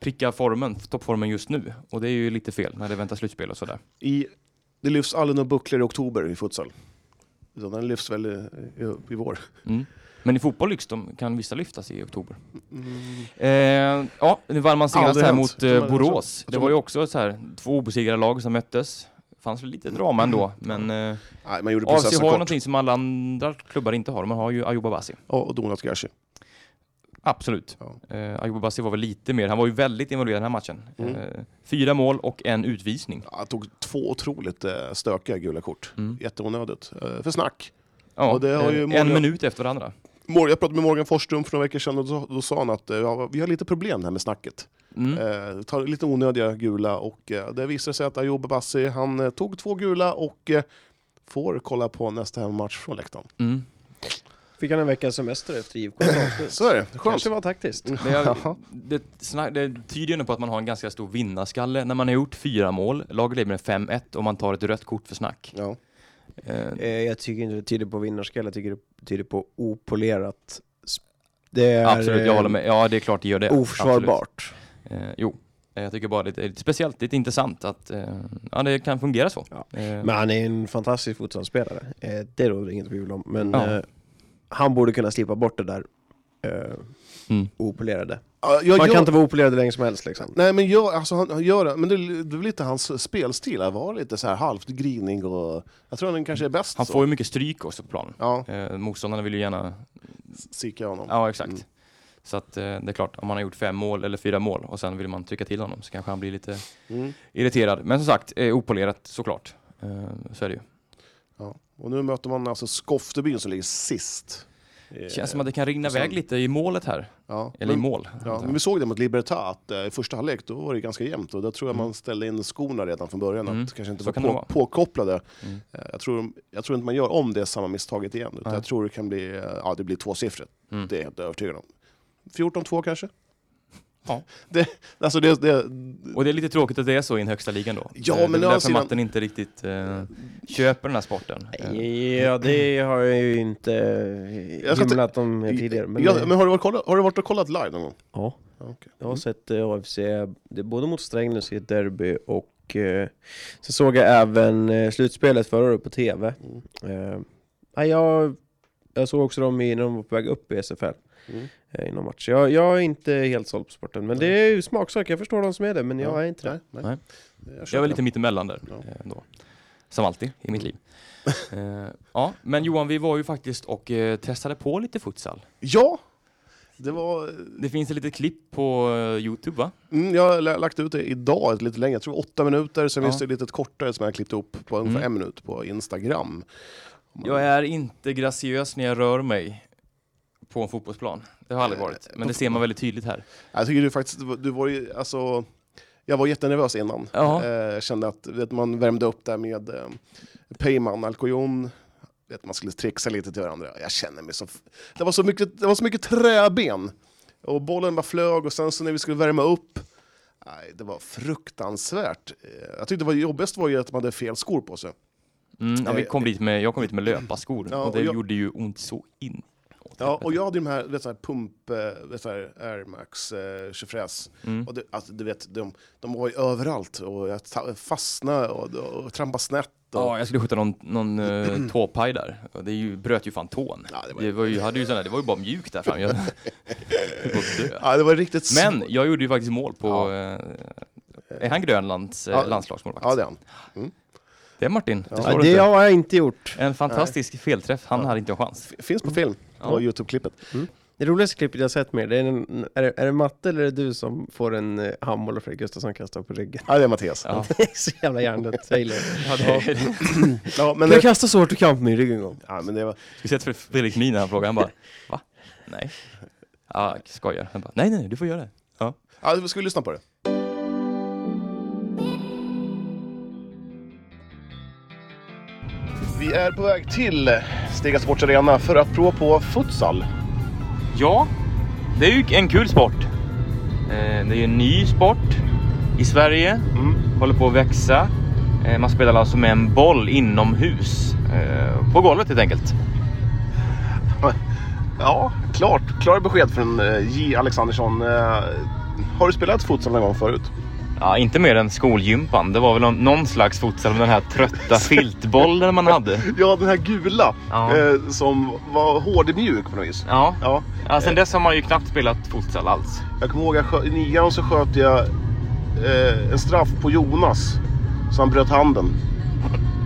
H: prickar formen, toppformen just nu. Och det är ju lite fel när det väntar slutspel och sådär.
B: I, det lyfts aldrig några bucklor i oktober i futsal. Utan den lyfts väl i, i, i vår.
H: Mm. Men i fotboll lyfts de, kan vissa lyftas i oktober. Eh, ja, nu vann man senast
B: Aldrig
H: här
B: hänt.
H: mot
B: Jag tror
H: eh,
B: man- jag tror-
H: Borås.
B: jag
H: Det
B: tror
H: var ju
B: man-
H: också så här, två obesegrade lag som möttes. fanns väl lite drama
B: Mm.
H: ändå, men eh,
B: Nej, man gjorde
H: AFC
B: processen
H: har ju
B: kort.
H: någonting som alla andra klubbar inte har. Man har ju Ayoub Abassi.
B: Ja, och Donat Gashi.
H: Absolut.
B: Ja.
H: Eh, Ayoub Abassi var väl lite mer, han var ju väldigt involverad i den här matchen.
B: Mm.
H: Eh, fyra mål och en utvisning.
B: Han tog två otroligt eh, stökiga gula kort.
H: Mm.
B: Jätteonödigt. Eh, för snack.
H: Ja,
B: Och det har ju
H: eh,
B: många-
H: En minut efter varandra.
B: Mor- Jag pratade med Morgan Forsström för några veckor sedan och då, då sa han att eh, ja, vi har lite problem här med snacket.
H: Mm.
B: Eh, tar lite onödiga gula och eh, det visade sig att Ayoub Bassi, han eh, tog två gula och eh, får kolla på nästa hemmamatch från
H: [LAUGHS]
B: läktaren.
H: Mm.
C: Fick han en veckas semester efter IFKs [LAUGHS] avslut?
B: Så är det, skönt.
C: Kanske var taktiskt.
H: Det, är, det, sna- det tyder ju ändå på att man har en ganska stor vinnarskalle när man har gjort fyra mål, laget leder med 5-1 och man tar ett rött kort för snack.
B: Ja.
H: Eh,
C: Eh, Jag tycker inte det tyder på vinnarskalle, jag tycker det tyder på opolerat. sp- Det är
H: Absolut, jag
C: eh,
H: håller med. Ja, det är klart det gör det.
C: oförsvarbart.
H: Absolut. Eh, jo, Eh, jag tycker bara det är lite speciellt, lite intressant att eh, ja, det kan fungera så.
C: Ja.
H: Eh,
C: Men han är en fantastisk fotbollsspelare. Eh, Det råder inget tvivel om. Men
H: Ja.
C: eh, han borde kunna slippa bort det där eh,
H: Mm.
C: opolerade.
B: Ja, jag-
C: Man
B: jag-
C: kan inte vara opolerad hur länge som helst liksom.
B: Nej men jag, alltså han han gör det, men det, det är lite hans spelstil, han var lite så här halvt grinig och... Jag tror han kanske är bäst
H: han
B: så.
H: får ju mycket stryk också på planen.
B: Ja,
H: Eh, motståndarna vill ju gärna,
B: sikar jag honom.
H: ja exakt.
B: Mm.
H: Så att eh, det är klart, om man har gjort fem mål eller fyra mål och sen vill man trycka till honom så kanske han blir lite
B: Mm.
H: irriterad. Men som sagt, eh, opolerat såklart. Eh, så är det ju.
B: Ja. Och nu möter man alltså Skoftebyn som ligger sist.
H: Det känns som att det kan rinna
B: och sen-
H: iväg lite i målet här.
B: Ja.
H: Eller
B: men,
H: i mål.
B: Mm.
H: Alltså.
B: ja, men vi såg det mot Libertad, att eh, i första halvlek då var det ganska jämnt och då tror jag man ställde in skorna redan från början,
H: Mm.
B: att kanske inte
H: Så
B: var
H: kan det
B: på,
H: vara.
B: påkopplade.
H: Mm.
B: Eh, Jag, tror, jag tror inte man gör om det samma misstaget igen, utan
H: Nej.
B: jag tror det kan bli, eh, ja det blir tvåsiffrigt,
H: Mm.
B: det är jag helt övertygad om. 14-2 kanske?
H: Ja.
B: [LAUGHS] Det, alltså det, det,
H: Och det är lite tråkigt att det är så i den högsta ligan då.
B: Ja,
H: Eh, det är
B: men å
H: därför
B: andra sidan-
H: matten inte riktigt eh, köper den här sporten. Eh,
C: Ja, det har jag ju inte
B: Jag ska inte-
C: hymlat om tidigare. Men
B: ja,
C: eh,
B: men har, du varit, kolla- har du varit och kollat live någon gång?
C: Ja.
B: Ja, okej. Mm.
C: Jag har sett eh, AFC, det är både mot Strängnäs i ett derby och eh, så såg jag även eh, slutspelet förra året på TV.
B: Mm.
C: Eh, ja, jag, jag såg också dem i, när de var på väg upp i SFL
B: Mm.
C: eh, i någon match. Jag, jag är inte helt såld på sporten, men det är ju smaksak. Jag förstår de som är det, men jag
B: Ja.
C: är inte det.
B: Nej, nej.
H: Nej.
B: Jag
H: Jag
B: köper
H: var lite mittemellan där.
B: Ja.
H: eh, Då. Som alltid i mitt liv.
B: Mm.
H: Eh, ja, men Johan, vi var ju faktiskt och eh, testade på lite futsal.
B: den. Ja! Det var...
H: Det finns ett litet klipp på eh, Youtube va?
B: Mm, jag har lä- lagt ut det idag, ett lite längre, jag tror åtta minuter, sen
H: Ja. Mm.
B: finns det ett litet kortare som jag har klippt upp på ungefär en minut på Instagram. Om man-
H: Jag är inte graciös när jag rör mig på en fotbollsplan. Det har
B: Eh,
H: jag aldrig varit. Men det ser man väldigt tydligt här.
B: Jag tycker du faktiskt, du var- du var ju, alltså... Jag var jättenervös innan.
H: Ja.
B: Eh, Jag kände att vet, man värmde upp där med eh, Peyman, Alcoyon, vet, man skulle trixa lite till varandra. Jag känner mig så... f- Det var så mycket, det var så mycket träben. Och bollen bara flög och sen så när vi skulle värma upp, nej, det var fruktansvärt. Eh, Jag tyckte det var jobbigast var ju att man hade fel skor på sig.
H: Mm, ja, vi kom dit med, jag kom dit med löparskor
B: eh, Ja,
H: och det
B: och jag-
H: gjorde ju ont så in.
B: Ja, och jag hade de här, vet, så här pump, eh, vet, så här Air Max, eh, Chefräs.
H: Mm.
B: Och det, alltså, du vet, de, de var ju överallt och jag ta- fastnade och, och trampade snett. Och,
H: Ja, jag skulle skjuta någon,
B: [CLEARS THROAT]
H: någon eh, tåpaj där. Och det är ju, bröt ju fan tån.
B: Ja, det
H: det,
B: var-
H: var... ju, jag hade ju sån där, det var ju bara mjukt
B: [LAUGHS]
H: där fram. Jag höll på att dö.
B: Ja, det var riktigt sv-
H: Men jag gjorde ju faktiskt mål på... eh, är han Grönlands eh,
B: Ja.
H: landslagsmålvakt?
B: Ja, det är han.
H: Det är Martin. Det
C: Ja,
H: slår
C: det
H: inte.
C: har jag inte gjort.
H: En fantastisk felträff. Han hade inte
B: [LAUGHS]
H: en chans.
B: F- Finns på film,
H: Mm. Ja.
B: på Youtube-klippet.
C: Det roligaste klippet jag sett med er, det är, en, är, det, är det Matte eller är det du som får en eh, handboll och Fredrik Gustafsson kastar på ryggen? [LAUGHS]
B: Ja, det är Mattias.
H: Ja.
C: Det är så jävla hjärndött, jag gillar det.
H: [LAUGHS] Ja, det,
B: [LAUGHS] Ja, men,
C: Jag kastade så hårt du kan på min rygg en gång.
B: ja, men det var,
H: speciellt för Fredrik Melin när han frågade. Han bara, va? Nej. Ja, jag skojar. Han bara, nej, nej, nej, du får göra det. Ja.
B: Ja, ska vi lyssna på det? Vi är på väg till Stega Sports Arena för att prova på futsal.
H: Ja, det är ju en kul sport. Eh, Det är ju en ny sport i Sverige.
B: Mm.
H: Håller på att växa. Eh, Man spelar alltså med en boll inomhus. eh, På golvet helt enkelt.
B: Ja, klart. Klara besked från eh, J. Alexandersson. Eh, Har du spelat futsal någon gång förut?
H: Ja, inte mer än skolgympan. Det var väl någon- någon slags futsal med den här
B: [LAUGHS]
H: trötta filtbollen man hade.
B: Ja, den här gula
H: Ja.
B: eh, som var hård och mjuk på något vis.
H: Ja.
B: Ja,
H: ja, sen dess har man ju knappt spelat futsal alls.
B: jag kommer ihåg jag skö- i nian så sköt jag eh, en straff på Jonas så han bröt handen.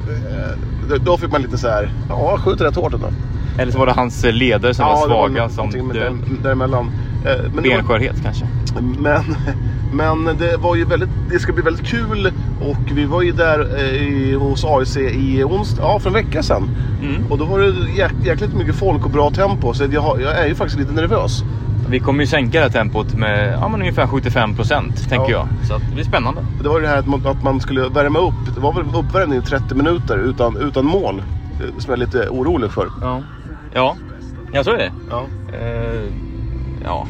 B: Eh, då- då fick man lite så här, ja, jag skjuter rätt hårt ändå.
H: Eller så var det hans eh, leder som var
B: det var
H: svaga
B: nå-
H: som
B: någonting med
H: död.
B: där- Däremellan. Eh, Men, det var,
H: Benskörhet kanske.
B: men, men det var ju väldigt, det ska bli väldigt kul och vi var ju där eh, i, hos AIC i onsdag, ja för en vecka sedan. Och då var det jäk, jäkligt mycket folk och bra tempo så jag, har- jag är ju faktiskt lite nervös.
H: Vi kommer ju sänka det här tempot med ja, men ungefär 75 procent, tänker
B: Ja.
H: jag. Så att det blir spännande.
B: Det var ju det här att man, att man skulle värma upp, det var väl uppvärmning i 30 minuter utan, utan mål. eh, Som jag är lite orolig för.
H: Ja, ja. jag tror det.
B: Ja,
H: Eh, ja.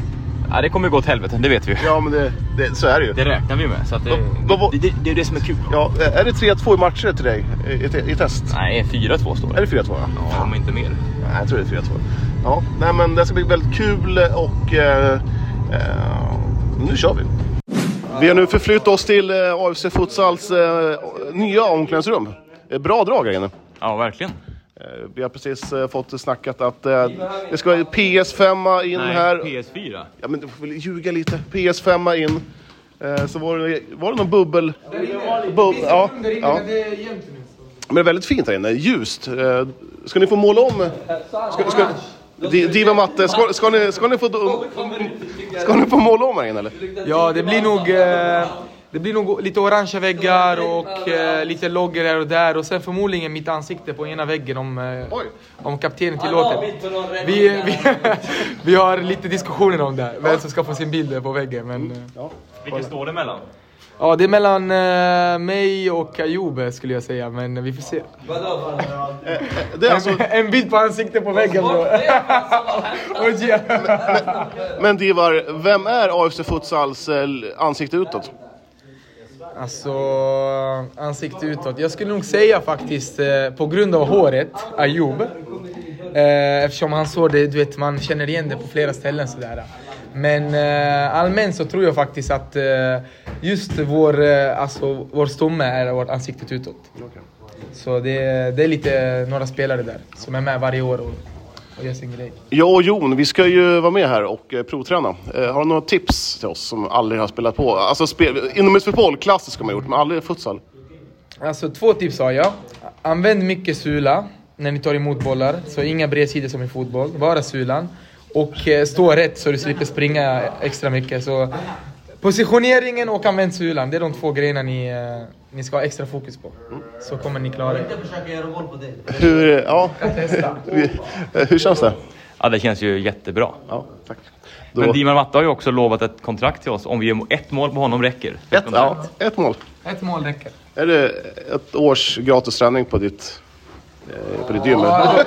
H: ja, det kommer ju gå åt helvete, det vet vi ju.
B: ja men det, det, så är det ju.
H: Det räknar vi med. Så att det,
B: Då- då-
H: det, det, det är det som är kul.
B: Ja, är det 3-2 i matcher till dig i, i, i test?
H: Nej, 4-2 står
B: Är
H: det.
B: det 4-2? Ja.
H: Ja, om inte mer.
B: Nej, jag tror det är 4-2. Ja, nej men det ska bli väldigt kul och eh, eh, nu kör vi. Vi har nu förflyttat oss till eh, AFC Futsals eh, nya omklädningsrum. Eh, Bra drag här inne.
H: Ja, verkligen.
B: Eh, Vi har precis eh, fått snackat att eh, det ska vara PS5 in här.
H: PS4.
B: ja, men du får väl ljuga lite. PS5 in. Eh, så var det, var det någon bubbel... Bub, ja, ja. Men det är väldigt fint här inne. Ljust. Eh, ska ni få måla om? Ska, ska, Di- Diva Matte, ska, ska, ni, ska, ni få, ska ni få måla om här inne eller?
I: Ja, det blir nog... Eh, det blir nog lite orangea väggar och eh, lite loggor här och där och sen förmodligen mitt ansikte på ena väggen om, eh,
B: Oj.
I: om kaptenen tillåter. Vi, vi, [LAUGHS] vi har lite diskussioner om det, här, vem som ska få sin bild där på väggen. Men, eh,
H: Vilken står det mellan?
I: ja, det är mellan eh, mig och Ayoub skulle jag säga, men vi får se.
B: Det är alltså,
I: En bild på ansiktet på väggen bro. [LAUGHS] Och ge-
B: men Divar, vem är AFC Futsals eh, ansikte utåt?
I: Alltså, ansikte utåt. Jag skulle nog säga faktiskt, eh, på grund av håret, Ayoub. Eh, eftersom hans hår, det, du vet, man känner igen det på flera ställen sådär. Men eh, allmänt så tror jag faktiskt att eh, just vår, eh, alltså, vår stomme är vårt ansiktet utåt. Så det, det är lite några spelare där som är med varje år och, och gör sin grej.
B: Jag och Jon, vi ska ju vara med här och eh, provträna. Eh, har du några tips till oss som aldrig har spelat på? Alltså spel, inomhusfotboll, klassiskt har man gjort, men aldrig futsal.
I: Alltså två tips har jag. Använd mycket sula när ni tar emot bollar, så inga bredsidor som i fotboll. Bara sulan. Och eh, stå rätt så du slipper springa extra mycket. Så positioneringen och använd sulan, det är de två grejerna ni, eh, ni ska ha extra fokus på. Så kommer ni klara er.
B: Hur, ja, hur känns det?
H: Ja, det känns ju jättebra.
B: Ja, tack.
H: Men
B: Då,
H: Diman Matta har ju också lovat ett kontrakt till oss. Om vi gör ett mål på honom räcker.
B: ett, ja, ett mål.
I: Ett mål räcker.
B: Är det ett års gratis träning på ditt, eh, på ditt gym? eller?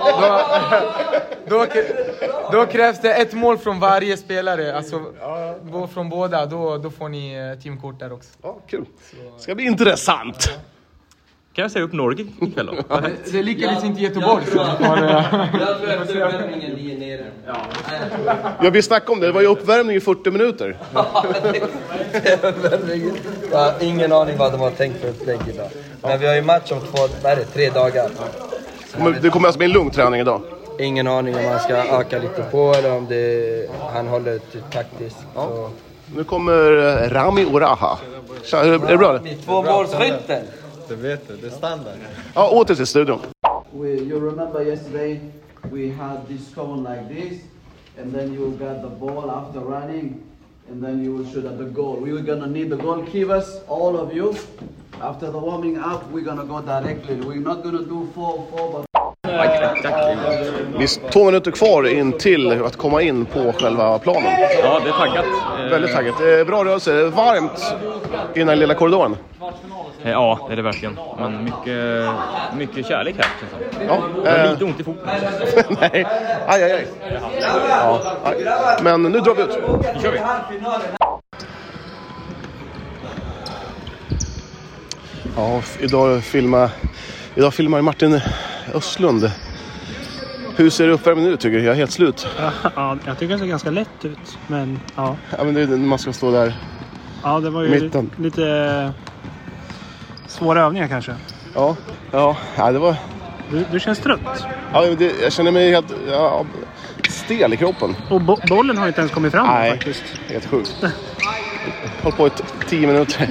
I: Då, krä- då krävs det ett mål från varje spelare, alltså bo- från båda. Då, då får ni eh, teamkort där också.
B: Ja, kul. Det ska bli intressant.
H: Kan jag säga upp Norge ikväll då?
I: Det, det lyckades inte Göteborg. Så vi får, eh,
J: Jag tror efter uppvärmningen ni är nere.
B: Ja, vi snackade om det. Det var ju uppvärmning i
J: [LAUGHS]
B: 40 minuter.
J: Jag har ingen aning vad de har tänkt för upplägg idag. Men vi har ju match om två, vad är det, tre dagar.
B: Kommer- Det kommer alltså bli en lugn träning idag.
J: Ingen aning om han ska öka lite på eller om det, han håller typ taktiskt. Så.
B: Nu kommer eh, Rami Oraha. Tja, Är det är det bra? eller?
J: Tvåmålsskytten!
B: Ja, åter till studion.
K: We, you remember yesterday we had this cone like this, and then you got the ball after running, and then you will shoot at the goal. We were gonna need the goalkeepers, all of you. After the warming up, we're gonna go directly. We're not gonna do four, four, but
B: Vi har två minuter kvar in till att komma in på själva planen.
H: Ja, det är taggat. Eh,
B: Väldigt taggat. Eh, Bra rörelse. Varmt i den här lilla korridoren.
H: eh, Ja, det är det verkligen. Men mycket, mycket kärlek här känns det som.
B: Ja.
H: Jag har
B: eh,
H: lite ont i foten.
B: [LAUGHS] Nej. Aj, aj, aj. Ja. Men nu drar vi ut.
H: Nu kör vi.
B: Ja, f- idag filmar, idag filmar Martin Östlund. Hur ser uppvärmningen ut tycker du? Jag är helt slut.
L: Ja, jag tycker det ser ganska lätt ut. Men ja,
B: Ja, men det är när man ska stå där.
L: ja det var ju
B: Mitten.
L: lite eh, svåra övningar kanske.
B: Ja, ja. ja det var...
L: Du, du känns trött.
B: Ja, det, jag känner mig helt ja, stel i kroppen.
F: Mm,
L: Och bo bollen har inte ens kommit fram
B: Nej.
L: faktiskt.
B: Helt sjukt. Håll på i t- tio minuter.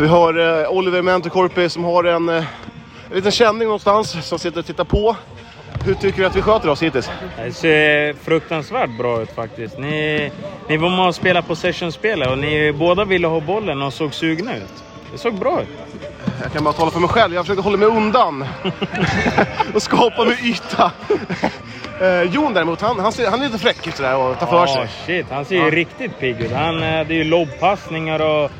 B: Vi har eh, Oliver Mentokorpi som har en, eh, en liten känning någonstans som sitter och tittar på. Hur tycker du att vi sköter oss hittills?
F: Det ser fruktansvärt bra ut faktiskt. Ni, ni var med och spelade possession-spelet och ni båda ville ha bollen och såg sugna ut. Det såg bra ut.
B: Jag kan bara tala för mig själv. Jag försöker hålla mig undan och skapa mig yta. Eh, Jon däremot, han, han, ser, han är lite fräck ut sådär och tar för sig.
F: Ja, Ah, shit. Han ser ju
B: Ja.
F: riktigt pigg ut. Han eh, hade ju lobbpassningar och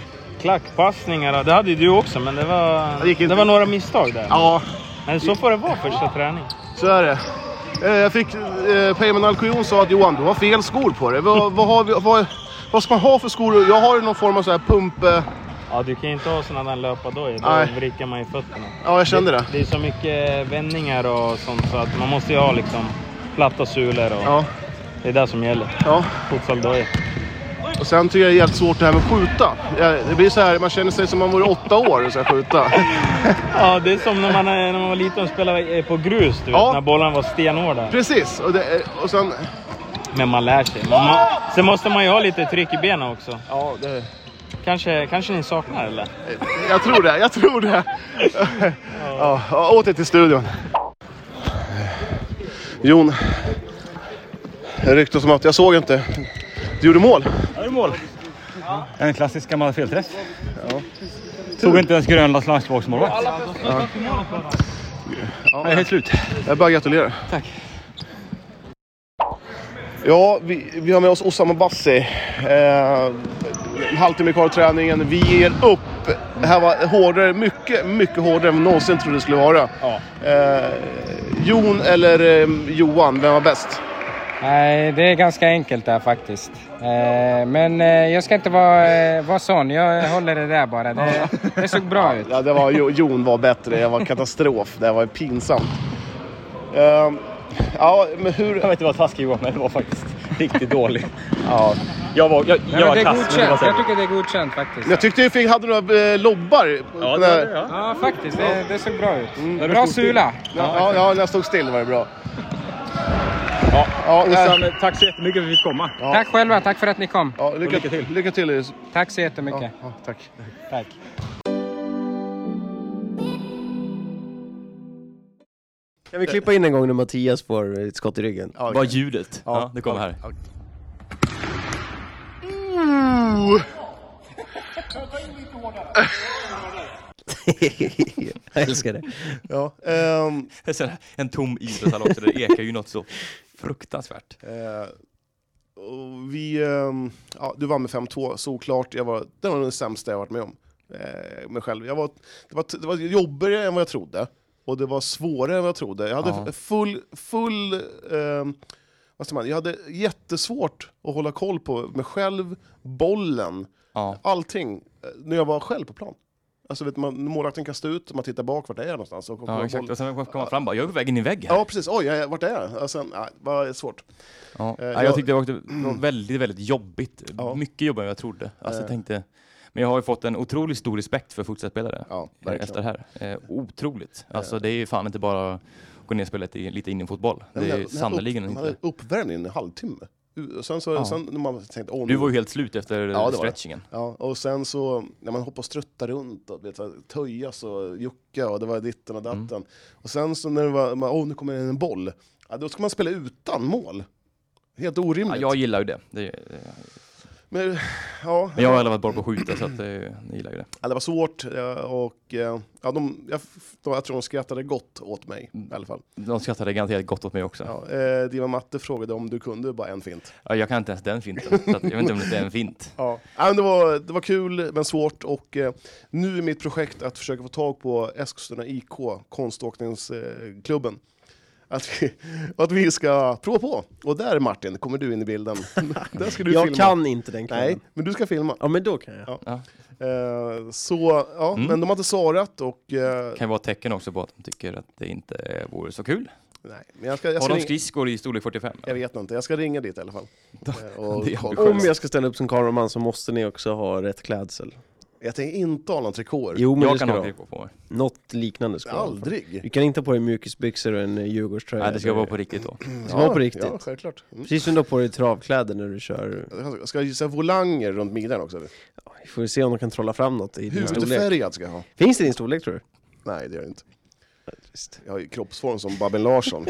F: klackpassningar. och- Det hade ju du också, men det var,
B: Det gick
F: det
B: inte.
F: var några misstag där.
B: Ja.
F: Men så får det vara första träningen.
B: Så är det. Eh, Jag fick... Eh, Peyman Alcoyon sa att Johan, du har fel skor på dig. Vad, vad, har vi, vad, vad ska man ha för skor? Jag har ju någon form av så här pump... Eh,
F: Ja, du kan ju inte ha sådana där löpardojor. Då
B: Nej.
F: vrickar man ju fötterna.
B: Ja, jag kände det.
F: Det är så mycket vändningar och sånt så att man måste ju ha liksom platta sulor. Och
B: Ja.
F: Det är det som gäller.
B: Ja.
F: Futsaldojor.
B: Och sen tycker jag det är helt svårt det här med att skjuta. Eh, Det blir så här, man känner sig som om man vore åtta år och ska
F: [LAUGHS]
B: skjuta.
F: Ja, det är som när man, när man var liten och spelade eh, på grus, du vet,
B: Ja.
F: när bollen var stenhårda.
B: Precis! Och, det, är- och sen...
F: Men man lär sig. Man, man, sen måste man ju ha lite tryck i benen också.
B: Ja, det...
F: Kanske, kanske ni saknar eller?
B: Jag tror det, jag tror det. Ja, ja, åter till studion. Jon, det ryktas som att jag såg inte. Du gjorde mål.
M: Är det mål? En klassisk gammal felträff. Tog inte ens Grönlands landslagsmålvakt.
B: Ja.
M: Jag är helt slut.
B: Jag bara gratulerar.
M: Tack.
B: Ja, vi, vi har med oss Osama Bassi. Eh, en halvtimme kvar av träningen. Vi ger upp. Det här var hårdare, mycket, mycket hårdare än vi någonsin trodde det skulle vara. Eh, Jon eller eh, Johan, vem var bäst?
N: Nej, det är ganska enkelt där faktiskt. Eh, Men eh, jag ska inte vara, eh, vara sån. Jag håller det där bara. Det, det såg bra ut.
B: Ja, det var, Jo- Jon var bättre. Det var katastrof. Det var pinsamt. Ehm, ja, men hur... Jag vet inte vad taskig Johan men det var faktiskt riktigt dålig. ja.
H: Jag var, jag,
N: Nej,
H: jag
N: men
H: var
N: det är
H: kass, men det var
N: godkänt. Jag
H: säkert.
N: tycker det är godkänt faktiskt.
B: Jag tyckte du fick, hade några eh, lobbar. Ja,
N: Ja, faktiskt. Det, Mm. det såg bra ut.
B: När du
N: Bra
B: stod still.
N: sula.
B: Ja, ja, ja, när jag stod still var det bra.
H: Ja.
B: Ja,
H: Osam, tack så jättemycket för att vi fick komma.
N: Tack själva. Tack för att ni kom.
B: lycka, till. Lycka till.
N: Tack så jättemycket.
B: tack.
N: tack.
C: Kan vi klippa in en gång när Mattias får ett skott i ryggen?
H: Vad ljudet? Ja, det kommer här.
C: Jag älskar det.
B: Ja,
H: En tom idrottshall också, det ekar ju något så fruktansvärt.
B: Eh, och vi, ehm, ja, du vann med 5-2, såklart. Jag var, det var den sämsta jag varit med om. Eh, mig själv. Jag var, det, var, det var jobbigare än vad jag trodde. Och det var svårare än vad jag trodde. Jag hade
H: Ja.
B: f- full... full ehm, vad säger man? Jag hade jättesvårt att hålla koll på mig själv, bollen, allting. eh, När jag var själv på plan. Alltså vet man, målvakten kastar ut, man tittar bak, vart är jag någonstans? Och,
H: Ja, exakt. Och sen kom man fram bara, jag är på väg in i väggen.
B: Ja, precis. Oj, jag- vart är jag? Och sen, nej, det var svårt.
H: Ja.
B: Eh,
H: Nej, jag
B: jag- Mm.
H: tyckte det var, det var väldigt, väldigt jobbigt. Mycket jobbigare än jag trodde. Alltså, jag
B: Eh.
H: tänkte, men jag har ju fått en otroligt stor respekt för fotbollsspelare eh, efter det här. Eh, otroligt. Alltså, det är ju fan inte bara att gå ner och spela lite, lite innefotboll. Det är ju sannerligen
B: inte. Man
H: inte.
B: hade uppvärmning i en halvtimme. U- och Sen så,
H: Ja.
B: sen när man tänkte, åh,
H: Du
B: nu-
H: var ju helt slut efter
B: det var det.
H: stretchingen.
B: Ja, och sen så, när man hoppade och struttade runt och vet, så här, töjas och jucka och det var ditten och datten.
H: Mm.
B: Och sen så när det var, man, åh nu kommer det en boll. Ja, då ska man spela utan mål. Helt
H: Ja,
B: orimligt.
H: jag gillar ju det. det är,
B: Men, ja.
H: Men jag har aldrig varit bra på att skjuta så att eh, jag gillar ju det.
B: Ja, det var svårt eh, och eh, ja, de, jag, f- de, jag tror de skrattade gott åt mig i alla fall.
H: De skrattade garanterat gott åt mig också. Ja.
B: Eh, Diva Matte frågade om du kunde bara en fint.
H: jag kan inte ens den finten. Så att jag vet inte om det är en fint.
B: Ja. Ja, men det, var, det var kul men svårt och eh, nu är mitt projekt att försöka få tag på Eskilstuna IK, konståkningsklubben. Eh, klubben. att, vi, [LAUGHS] att vi ska prova på. Och där Martin, kommer du in i
C: [LAUGHS]
B: bilden. där ska du
C: jag
B: filma.
C: kan inte den klubben.
B: Nej, men du ska filma.
C: Ja, men då kan jag.
B: Ja. Eh, så, ja,
C: Mm.
B: men de hade svarat och... Eh,
H: Det kan ju vara ett tecken också på att de tycker att det inte vore så kul.
B: Nej, men jag ska, jag
H: Har
B: ska
H: de
B: ringa,
H: skridskor i storlek 45?
B: jag vet inte, jag ska ringa dit i alla
C: [LAUGHS]
B: fall. Eh, och
H: det är
B: kolla.
C: Om jag ska ställa upp som kameraman så måste ni också ha rätt klädsel.
B: Jag tänker inte ha någon trikåer.
C: Jo, men
H: Jag
C: det ska
H: kan ha
C: du
H: trikå på mig.
C: Något liknande ska du ha.
B: Aldrig.
C: Du kan inte ha på dig mjukisbyxor och en eh, Djurgårdströja.
H: Nej, det ska vara på riktigt
B: [LAUGHS]
H: då.
C: Det ska vara på riktigt.
B: Ja, självklart. Mm.
C: Precis som du har på dig travkläder när du kör.
B: Jag Ska jag gissa volanger runt midjan också? eller?
C: Vi får se om de kan trolla fram något i din storlek.
B: Hudfärgad ska jag ha.
C: Finns det i din storlek tror du?
B: Nej, det gör jag inte. Jag har ju kroppsform som Babben
C: [LAUGHS]
B: Larsson.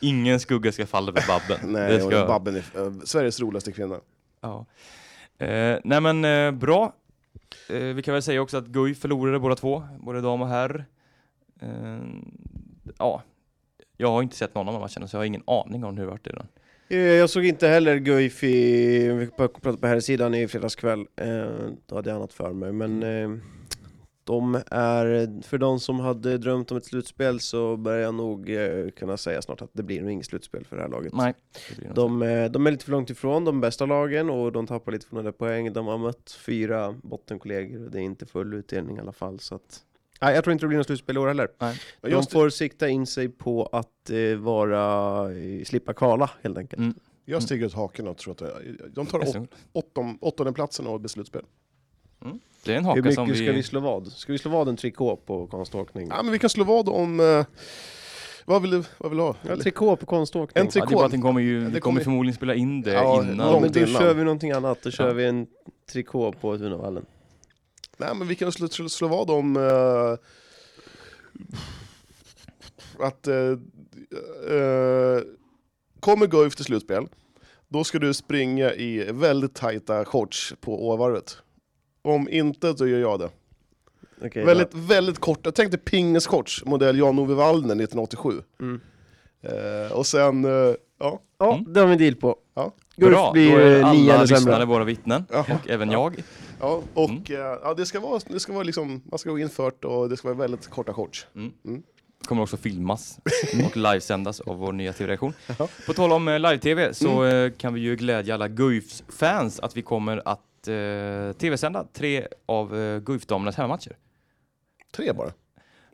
H: Ingen skugga ska falla över Babben.
B: Nej,
H: Det
B: och
H: ska...
B: Babben är eh, Sveriges roligaste kvinna.
H: Ja. Eh, nej men eh, bra. Eh, vi kan väl säga också att Guy förlorade båda två, både dam och herr. Eh, ja, jag har inte sett någon av matcherna så jag har ingen aning om hur det varit i den.
C: Eh, Jag såg inte heller Guif i, vi pratade på här sidan i fredags kväll, eh, då hade jag annat för mig. Men eh, de är, för de som hade drömt om ett slutspel så börjar jag nog eh, kunna säga snart att det blir nog inget slutspel för det här laget.
H: Nej. det blir nog
C: De, eh, de är lite för långt ifrån de bästa lagen och de tappar lite från några poäng. De har mött fyra bottenkollegor och det är inte full utdelning i alla fall. Så att, nej, jag tror inte det blir något slutspel i år heller.
H: Nej.
C: De
B: Just det.
C: får sikta in sig på att eh, vara, eh, slippa kvala helt enkelt.
H: Mm.
B: Jag stiger ut haken och tror att jag- de tar
H: Nästa
B: åt, åttom, åttondeplatsen och beslutspel.
H: Det är en
C: Hur
H: haka som
C: mycket
H: vi...
C: ska vi slå vad? Ska vi slå vad en trikå på konståkning?
B: Ja, men vi kan slå vad om... eh, vad, vill du, vad vill du ha?
C: Ja, trikå på konståkning.
B: En
H: Ja, det är bara att den kommer ju,
B: Det
H: vi
B: kommer-
H: kommer förmodligen spela in det
B: Ja,
H: innan.
C: Ja, men då
B: innan.
C: kör vi någonting annat. Då kör vi en trikå på Tunavallen.
B: Nej, men vi kan slå, slå, slå vad om... eh, att... eh, eh, kommer Guif till slutspel, då ska du springa i väldigt tajta shorts på ovarvet. Om inte så gör jag det.
C: Okej,
B: väldigt, väldigt korta, tänk dig pingisshorts, modell Jan-Ove Wallner 1987.
C: Mm.
B: Eh, och sen, eh, ja.
C: Ja, det har vi en deal på.
B: Ja.
C: Gulf
H: Mm. Bra, då
C: blir
H: är
C: eh,
H: alla
C: nian i
H: lyssnare
C: sämre.
H: våra vittnen, och även jag.
B: ja och eh, ja, det ska vara, det ska vara liksom, man ska gå infört och det ska vara väldigt korta shorts.
H: kommer också filmas
B: Mm.
H: och livesändas av vår nya tv-redaktion. På tal om eh, live-tv så
B: Mm.
H: eh, kan vi ju glädja alla Guifs fans att vi kommer att eh, tv-sända tre av eh, Guif-damernas hemmamatcher.
B: Tre bara.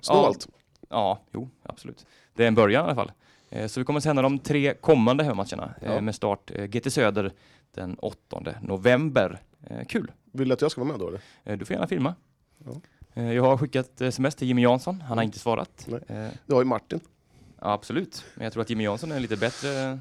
B: Snålt.
H: Ja, ja, jo, absolut. Det är en början i alla fall. Eh, så vi kommer sända de tre kommande hemmamatcherna eh,
B: Ja.
H: med start eh, GT Söder den 8 november. Eh, kul!
B: Vill du att jag ska vara med då eller?
H: Eh, du får gärna filma.
B: Ja. Mm.
H: Eh, jag har skickat eh, sms till Jimmy Jansson, han har inte svarat. Eh,
B: Du har ju Martin.
H: Ja, absolut. Men jag tror att Jimmy Jansson är
B: [SIGHS]
H: lite bättre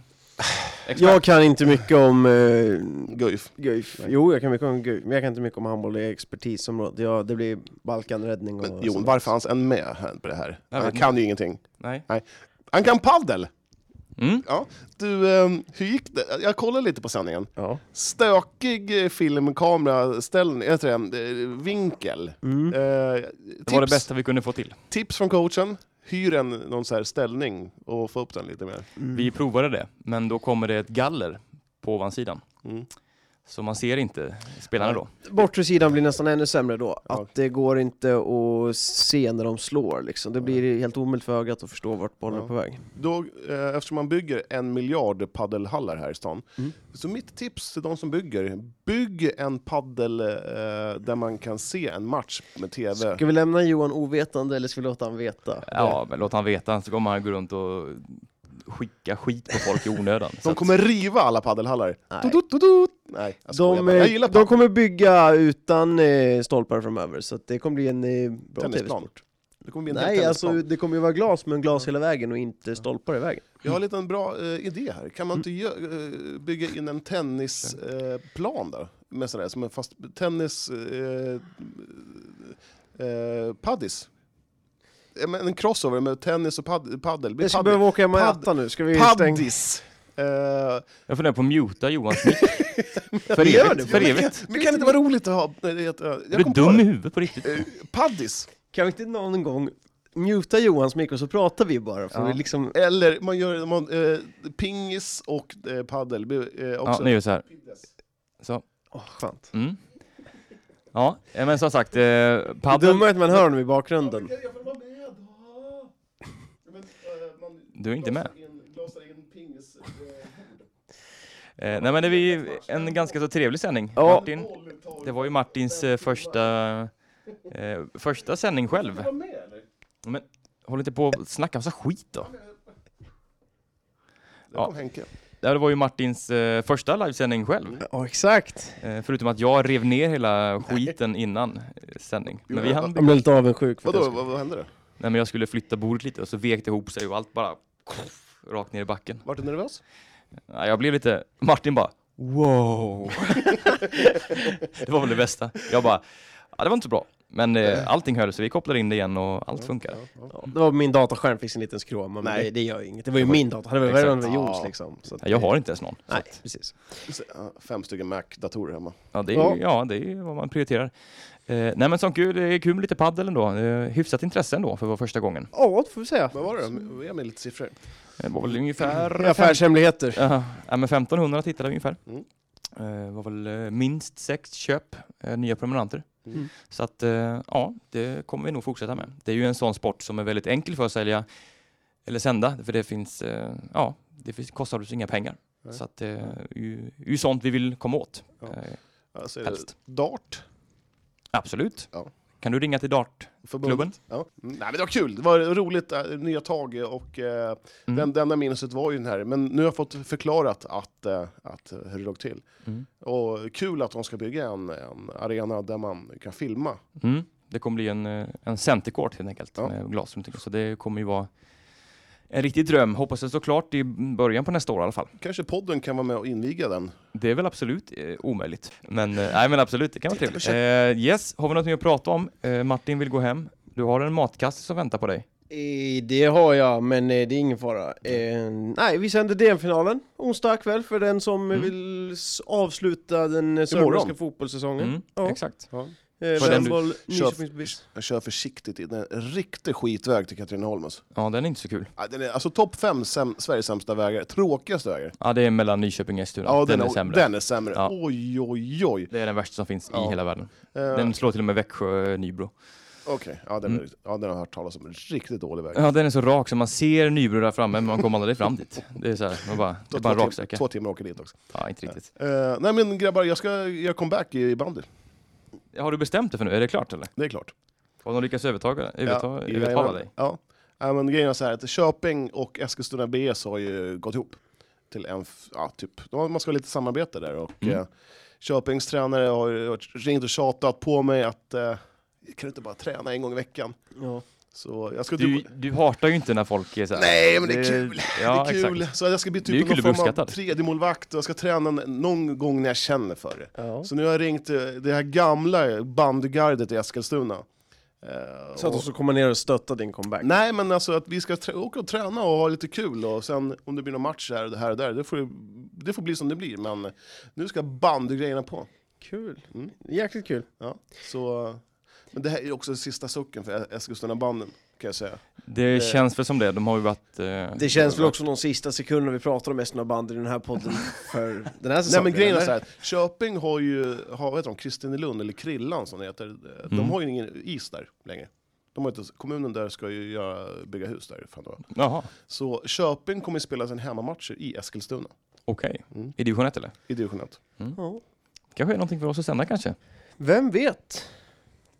H: expert.
C: Jag kan inte mycket om eh,
B: Guif.
C: Guif. Jo, jag kan mycket om Guif, men jag kan inte mycket om handboll i expertisområdet. Ja, det blir Balkanräddning och
B: Men, Jon,
C: sånt.
B: varför fanns en med här på det här?
H: Jag
B: Han
H: vet
B: kan ju ingenting.
H: Nej.
B: Nej. Han kan padel!
H: Mm.
B: Ja, du, ehm, hur gick det? Jag kollade lite på sändningen.
C: Ja.
B: Stökig eh, filmkameraställning, heter det, eh, vinkel.
C: Mm.
B: Eh,
H: Det var det
B: tips-
H: bästa vi kunde få till.
B: tips från coachen. Hyr en någon så här ställning och få upp den lite mer.
H: Vi provade det, men då kommer det ett galler på ovansidan.
B: Mm.
H: Så man ser inte spelarna då.
C: Bortre sidan blir nästan ännu sämre då.
B: Ja.
C: Att det går inte att se när de slår liksom. Det blir helt omöjligt för ögat att förstå vart bollen
B: Ja.
C: är på väg.
B: Då, eh, eftersom man bygger en miljard paddelhallar här i stan,
C: Mm.
B: så mitt tips till de som bygger, bygg en paddel eh, där man kan se en match med TV.
C: Ska vi lämna Johan ovetande eller ska vi låta han veta?
H: Ja, men låt han veta, så kommer han gå runt och skicka skit på folk i onödan. Så
B: [LAUGHS] De
H: att-
B: kommer riva alla paddelhallar.
C: Nej.
B: Tut, tut, tut. Nej, jag skojar
C: De,
B: bara.
C: eh,
B: Jag gillar
C: de
B: paddel.
C: kommer bygga utan eh, stolpar framöver, så att det kommer bli en eh, bra
B: Tennisplan.
C: tv-sport.
B: Det kommer bli en hel
C: Nej,
B: tennisplan.
C: alltså det kommer ju vara glas, men glas hela vägen och inte stolpar i vägen.
B: Jag har en liten bra eh, idé här. Kan man inte gö- eh, bygga in en tennisplan eh, plan där? Med sådär, som en fast tennis... Eh, eh, paddis. Ja, men En crossover med tennis och pad- paddel.
C: Jag ska behöva åka hem och
B: Pad-
C: äta nu, ska vi stänga?
B: Paddis! Eh,
H: Jag funderar på att muta
B: [LAUGHS]
H: Johans mick. För
B: Gör
H: evigt.
B: det,
H: För
B: men
H: evigt.
B: kan- Men kan det inte vara roligt att ha... nej, det är att- jag
H: Är du
B: kom på
H: dum
B: det.
H: i huvudet på riktigt?
B: Eh, Paddis!
C: Kan vi inte någon gång muta Johans mikrofon så pratar vi bara? För vi liksom...
B: Eller man gör man, eh, pingis och eh, paddel. Eh,
H: Ja,
B: också.
H: nu gör vi så här. Så.
C: Åh, skönt.
H: Mm. Ja, eh, men som sagt, eh,
C: Det
H: padel...
C: dumma är att man hör honom i bakgrunden.
B: eh,
H: Du är inte med.
B: Glasar in pingis.
H: Eh, nej men det var ju en ganska så trevlig sändning.
C: Ja.
H: Martin, det var ju Martins eh, första, eh, första sändning själv. Men håll inte på och snacka massa skit då. Ja.
B: Henke.
H: Det här var ju Martins eh, första livesändning själv.
C: Ja, exakt.
H: Eh, förutom att jag rev ner hela skiten innan eh, sändning. Men vi hann
C: Han blev lite avundsjuk. För
B: Vadå,
C: det.
B: vad, vad hände då?
H: Nej men jag skulle flytta bordet lite och så vek det ihop sig och allt bara rakt ner i backen.
B: Vart du nervös?
H: Nej, jag blev lite, Martin bara wow. [LAUGHS] det var väl det bästa. Jag bara, ja det var inte så bra. Men eh, allting hörde så vi kopplade in det igen och allt funkar.
C: Ja, det var min dataskärm fick sin liten skråma, men
B: Nej.
C: det, det gör ju inget. Det var ju min dator, det var ju
H: Exakt.
C: värre än det var Johans
B: Ja.
C: liksom. Så att,
H: Jag har inte ens någon. så
C: Nej,
H: att-
C: precis.
B: Ja, Fem stycken Mac-datorer hemma.
H: Ja, det är, ja. ja, det är vad man prioriterar. Eh, nej men som kul, det är kul med lite paddel ändå. Eh, hyfsat intresse ändå för vår första gången.
C: Ja, det får vi säga.
B: Vad var det då? Ge mig lite siffror.
H: Det var väl ungefär...
C: Affärshemligheter.
H: Ja, ja, men 1500 tittade vi ungefär.
B: Mm.
H: Eh, var väl eh, minst sex köp, eh, nya prenumeranter.
B: Mm.
H: Så att eh, ja, det kommer vi nog fortsätta med. Det är ju en sån sport som är väldigt enkel för att sälja eller sända, för det finns, eh, ja, det finns, kostar oss inga pengar.
B: Nej.
H: Så att det är ju, ju sånt vi vill komma åt.
B: Ja.
H: Eh,
B: Alltså, är det
H: helst.
B: Dart?
H: Absolut.
B: Ja.
H: Kan du ringa till Dartklubben?
B: Förbundet. Ja. Mm, Nej, men det var kul. Det var roligt, äh, nya tag och eh,
H: Mm.
B: den, det enda minuset var ju den här. Men nu har jag fått förklarat att, eh, att eh, hur det låg till.
H: Mm.
B: Och kul att de ska bygga en, en arena där man kan filma.
H: Mm. Det kommer bli en, eh, en centercourt helt enkelt
B: Ja.
H: med glasrum. tycker jag. Så det kommer ju vara en riktig dröm. Hoppas det står klart i början på nästa år i alla fall.
B: Kanske podden kan vara med och inviga den.
H: Det är väl absolut eh, omöjligt. Men, eh, nej, men absolut, det kan vara trevligt. Eh, yes, har vi något mer att prata om? Eh, Martin vill gå hem. Du har en matkasse som väntar på dig.
C: Eh, Det har jag, men eh, det är ingen fara. Eh, nej, vi sänder DM-finalen onsdag kväll för den som eh, vill s- avsluta den eh, sörmländska fotbollssäsongen.
H: Mm,
C: Ja.
H: Exakt.
B: Ja.
C: Eh,
H: För den du-
C: Värmboll,
B: Kör-
C: Nyköpingsbis.
B: Jag kör försiktigt in. Det är En riktig skitväg till Katrineholm. Alltså,
H: Ja, den är inte så kul.
B: Ja, den är, alltså topp fem säm, Sveriges sämsta vägar. Tråkigaste vägar.
H: Ja, det är mellan Nyköping och Eskilstuna.
B: Ja,
H: den, är sämre.
B: Den är sämre.
H: Ja.
B: Oj, oj, oj.
H: Det är den värsta som finns
B: Ja.
H: i hela världen.
B: Eh,
H: Den slår till och med Växjö eh, Nybro.
B: Okej, ja, den, är
H: Mm.
B: riktigt- ja, den har jag hört talas om. En Riktigt dålig väg.
H: Ja, den är så rak så man ser Nybro där framme men man kommer aldrig fram dit. Det är så här, man bara, det
B: Två-
H: är bara en
B: två tim-
H: raksträcka.
B: Två timmar åker dit också.
H: Ja, inte riktigt.
B: Eh, nej men grabbar, jag ska göra comeback i bandy.
H: Har du bestämt dig för nu? Är det klart eller?
B: Det är klart.
H: Har de lyckats övertaga dig? Överta,
B: ja,
H: övertala
B: jajamän.
H: dig?
B: Ja. ja, men grejen är så här att Köping och Eskilstuna BS har ju gått ihop. Till en, f- ja, typ. de har- Man ska ha lite samarbete där och
H: Mm.
B: eh, Köpings tränare har ju varit- ringt och tjatat på mig att eh, kan du inte bara träna en gång i veckan?
C: Ja.
B: Så jag ska
H: Du,
B: typ...
H: du hatar ju inte när folk är så här.
B: Nej, men det är kul.
H: Ja,
B: det är kul!
H: exakt.
B: Så jag ska bli
H: Det är ju
B: typ
H: kul att bli
B: någon form av
H: uppskattad.
B: tredje målvakt och jag ska träna n- någon gång när jag känner för det.
C: Ja.
B: Så nu har jag ringt eh, det här gamla bandgardet i Eskilstuna. Eh,
C: Så att
B: och-
C: de ska komma ner och stötta din comeback.
B: Nej men alltså att vi ska trä- åka och träna och ha lite kul och sen om det blir någon match här och det här och där, det får, det får bli som det blir. Men nu ska bandygrejerna på.
C: Kul.
B: Mm.
C: Jäkligt kul.
B: Ja, så, men det här är också sista sucken för Eskilstuna-banden kan jag säga.
H: Det känns väl som det. De har ju varit... eh,
C: Det känns väl också de sista sekunderna vi pratar om Eskilstuna bandy i den här [LAUGHS] podden för den här
B: Nej
C: säsongen.
B: men grejen är
C: eller?
B: så här, Köping har ju, har, vad heter de, Kristinelund eller Krillan som det heter, eh, de
H: Mm.
B: har ju ingen is där längre. De har inte, kommunen där ska ju göra, bygga hus där. Fan det var.
H: Jaha,
B: så Köping kommer ju spela sina hemmamatcher i Eskilstuna,
H: okej.
B: Mm.
H: I division 1 eller?
B: i division 1.
C: Ja.
H: Kanske är någonting för oss att sända kanske?
C: Vem vet?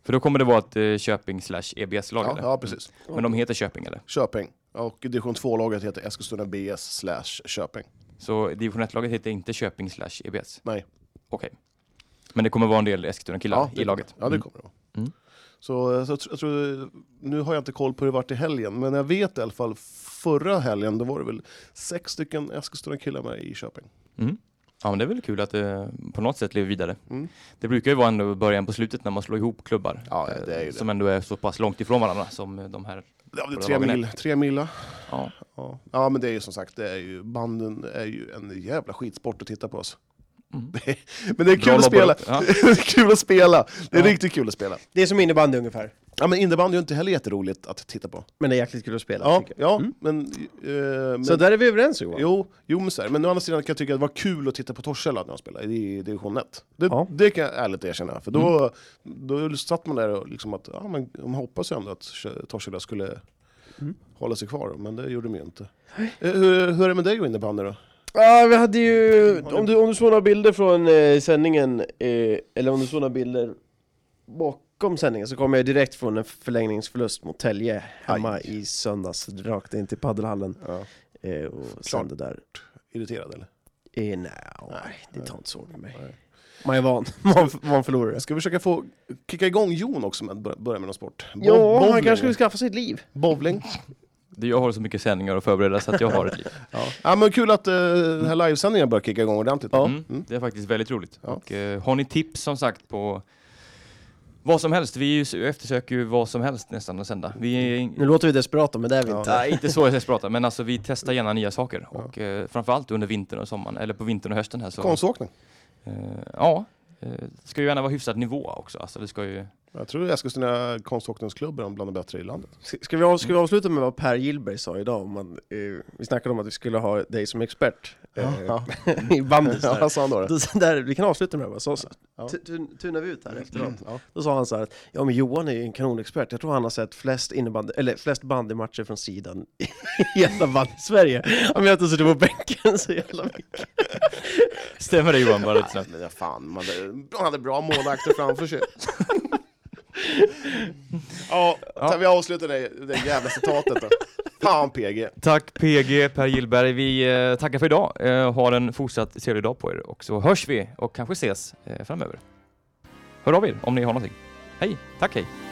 H: För då kommer det vara ett eh, Köping slash EBS-lag
B: Ja,
H: eller?
B: ja, precis.
H: Men de heter Köping eller?
B: Köping. Och division 2-laget heter Eskilstuna BS slash Köping.
H: Så division 1-laget heter inte Köping slash EBS?
B: Nej.
H: Okej. Men det kommer vara en del Eskilstuna-killar
B: Ja, det-
H: i laget?
B: Ja, det
H: Mm.
B: kommer det vara.
H: Mm.
B: Så, så jag, tr- jag tror, nu har jag inte koll på hur det vart i helgen, men jag vet i alla fall förra helgen, då var det väl sex stycken Eskilstuna-killar med i Köping.
H: Mm. Ja, men det är väl kul att det på något sätt lever vidare.
B: Mm.
H: Det brukar ju vara ändå början på slutet när man slår ihop klubbar
B: Ja, det är ju det.
H: som ändå är så pass långt ifrån varandra som eh, de här
B: Ja, det är
H: På
B: tre,
H: dagen
B: mil,
H: efter.
B: tre mila.
H: Ja.
B: Ja. ja, men det är ju som sagt, det är ju, banden är ju en jävla skitsport att titta på. Alltså. Det är- [LAUGHS] Men det är
C: Bra
B: kul att
C: lobbat.
B: spela. [LAUGHS]
C: Ja.
B: Det är kul att spela. Det är
C: Ja.
B: riktigt kul att spela.
C: Det är som innebandy ungefär.
B: Ja, men innebandy är ju inte heller jätteroligt att titta på.
C: Men det är jäkligt kul att spela.
B: Ja,
C: tycker jag.
B: ja men, eh, men...
C: Så där är vi överens Johan?
B: Jo, jo men, så här, men å andra sidan kan jag tycka att det var kul att titta på Torshälla när de spelade i division 1. Det, det kan jag ärligt erkänna. För då,
C: Mm.
B: då satt man där och liksom att, ja, men, man hoppas ju ändå att Torshälla skulle
C: Mm.
B: hålla sig kvar, men det gjorde de ju inte. Eh, Hur, hur är det med dig och innebandy då?
C: Ja, vi hade ju... Om du, om du såg några bilder från eh, sändningen, eh, eller om du såg några bilder bakom sändningen, så kom jag direkt från en förlängningsförlust mot Tälje hemma i söndags, rakt in till paddelhallen. Eh, och sände där.
B: Irriterad eller?
C: Eh, nej, det tar inte så med mig. Man är van. Man förlorar.
B: Ska vi försöka få kicka igång Jon också med att börja- börja med någon sport? Bo-
C: Ja, han
B: bowling.
C: kanske skulle skaffa sig ett liv.
B: Bowling.
H: Du, jag har så mycket sändningar att förbereda så att jag har ett liv.
B: Ja. ja, men kul att eh, den här livesändningen börjar kicka igång ordentligt.
H: Mm. Det är faktiskt väldigt roligt. Och, eh, har ni tips som sagt på vad som helst? Vi är ju- eftersöker ju vad som helst nästan att sända. Vi är
C: Nu låter vi desperata, men det är vi inte.
H: Nej, inte så desperata, men alltså vi testar gärna nya saker. Och eh, framförallt under vintern och sommaren, eller på vintern och hösten här. Så,
B: Konståkning.
H: Eh, ja, eh, det ska ju gärna vara hyfsad nivå också. Alltså, det ska ju...
B: Jag tror Eskilstuna konståkningsklubb är bland de bättre i landet.
C: Ska- Ska vi, av, ska vi avsluta med vad Per Gillberg sa idag? Om man, eh, vi snackade om att vi skulle ha dig som expert eh,
B: Ja.
C: [LAUGHS] i bandy.
B: Ja, vad sa han då?
C: så där, vi kan avsluta med det. Så, så,
B: Ja. Mm,
C: tu- tu- tunar vi ut här efteråt.
B: Ja.
C: Då sa han så här att ja, men Johan är ju en kanonexpert. Jag tror han har sett flest, innebandy, eller flest bandymatcher från sidan [LAUGHS] i hela bandy-Sverige. Han vet att suttit på bänken så jävla mycket.
H: Stämmer det Johan? Bara lite
B: snabbt. Nej, men fan, man de hade bra målvakter framför sig. ja, tar vi avslutar det, det jävla citatet då. Fan PG.
H: Tack PG, Per Gillberg. Vi eh, tackar för idag. Eh, ha en fortsatt trevlig dag på er och så hörs vi och kanske ses eh, framöver. Hör av er om ni har någonting. Hej, tack hej.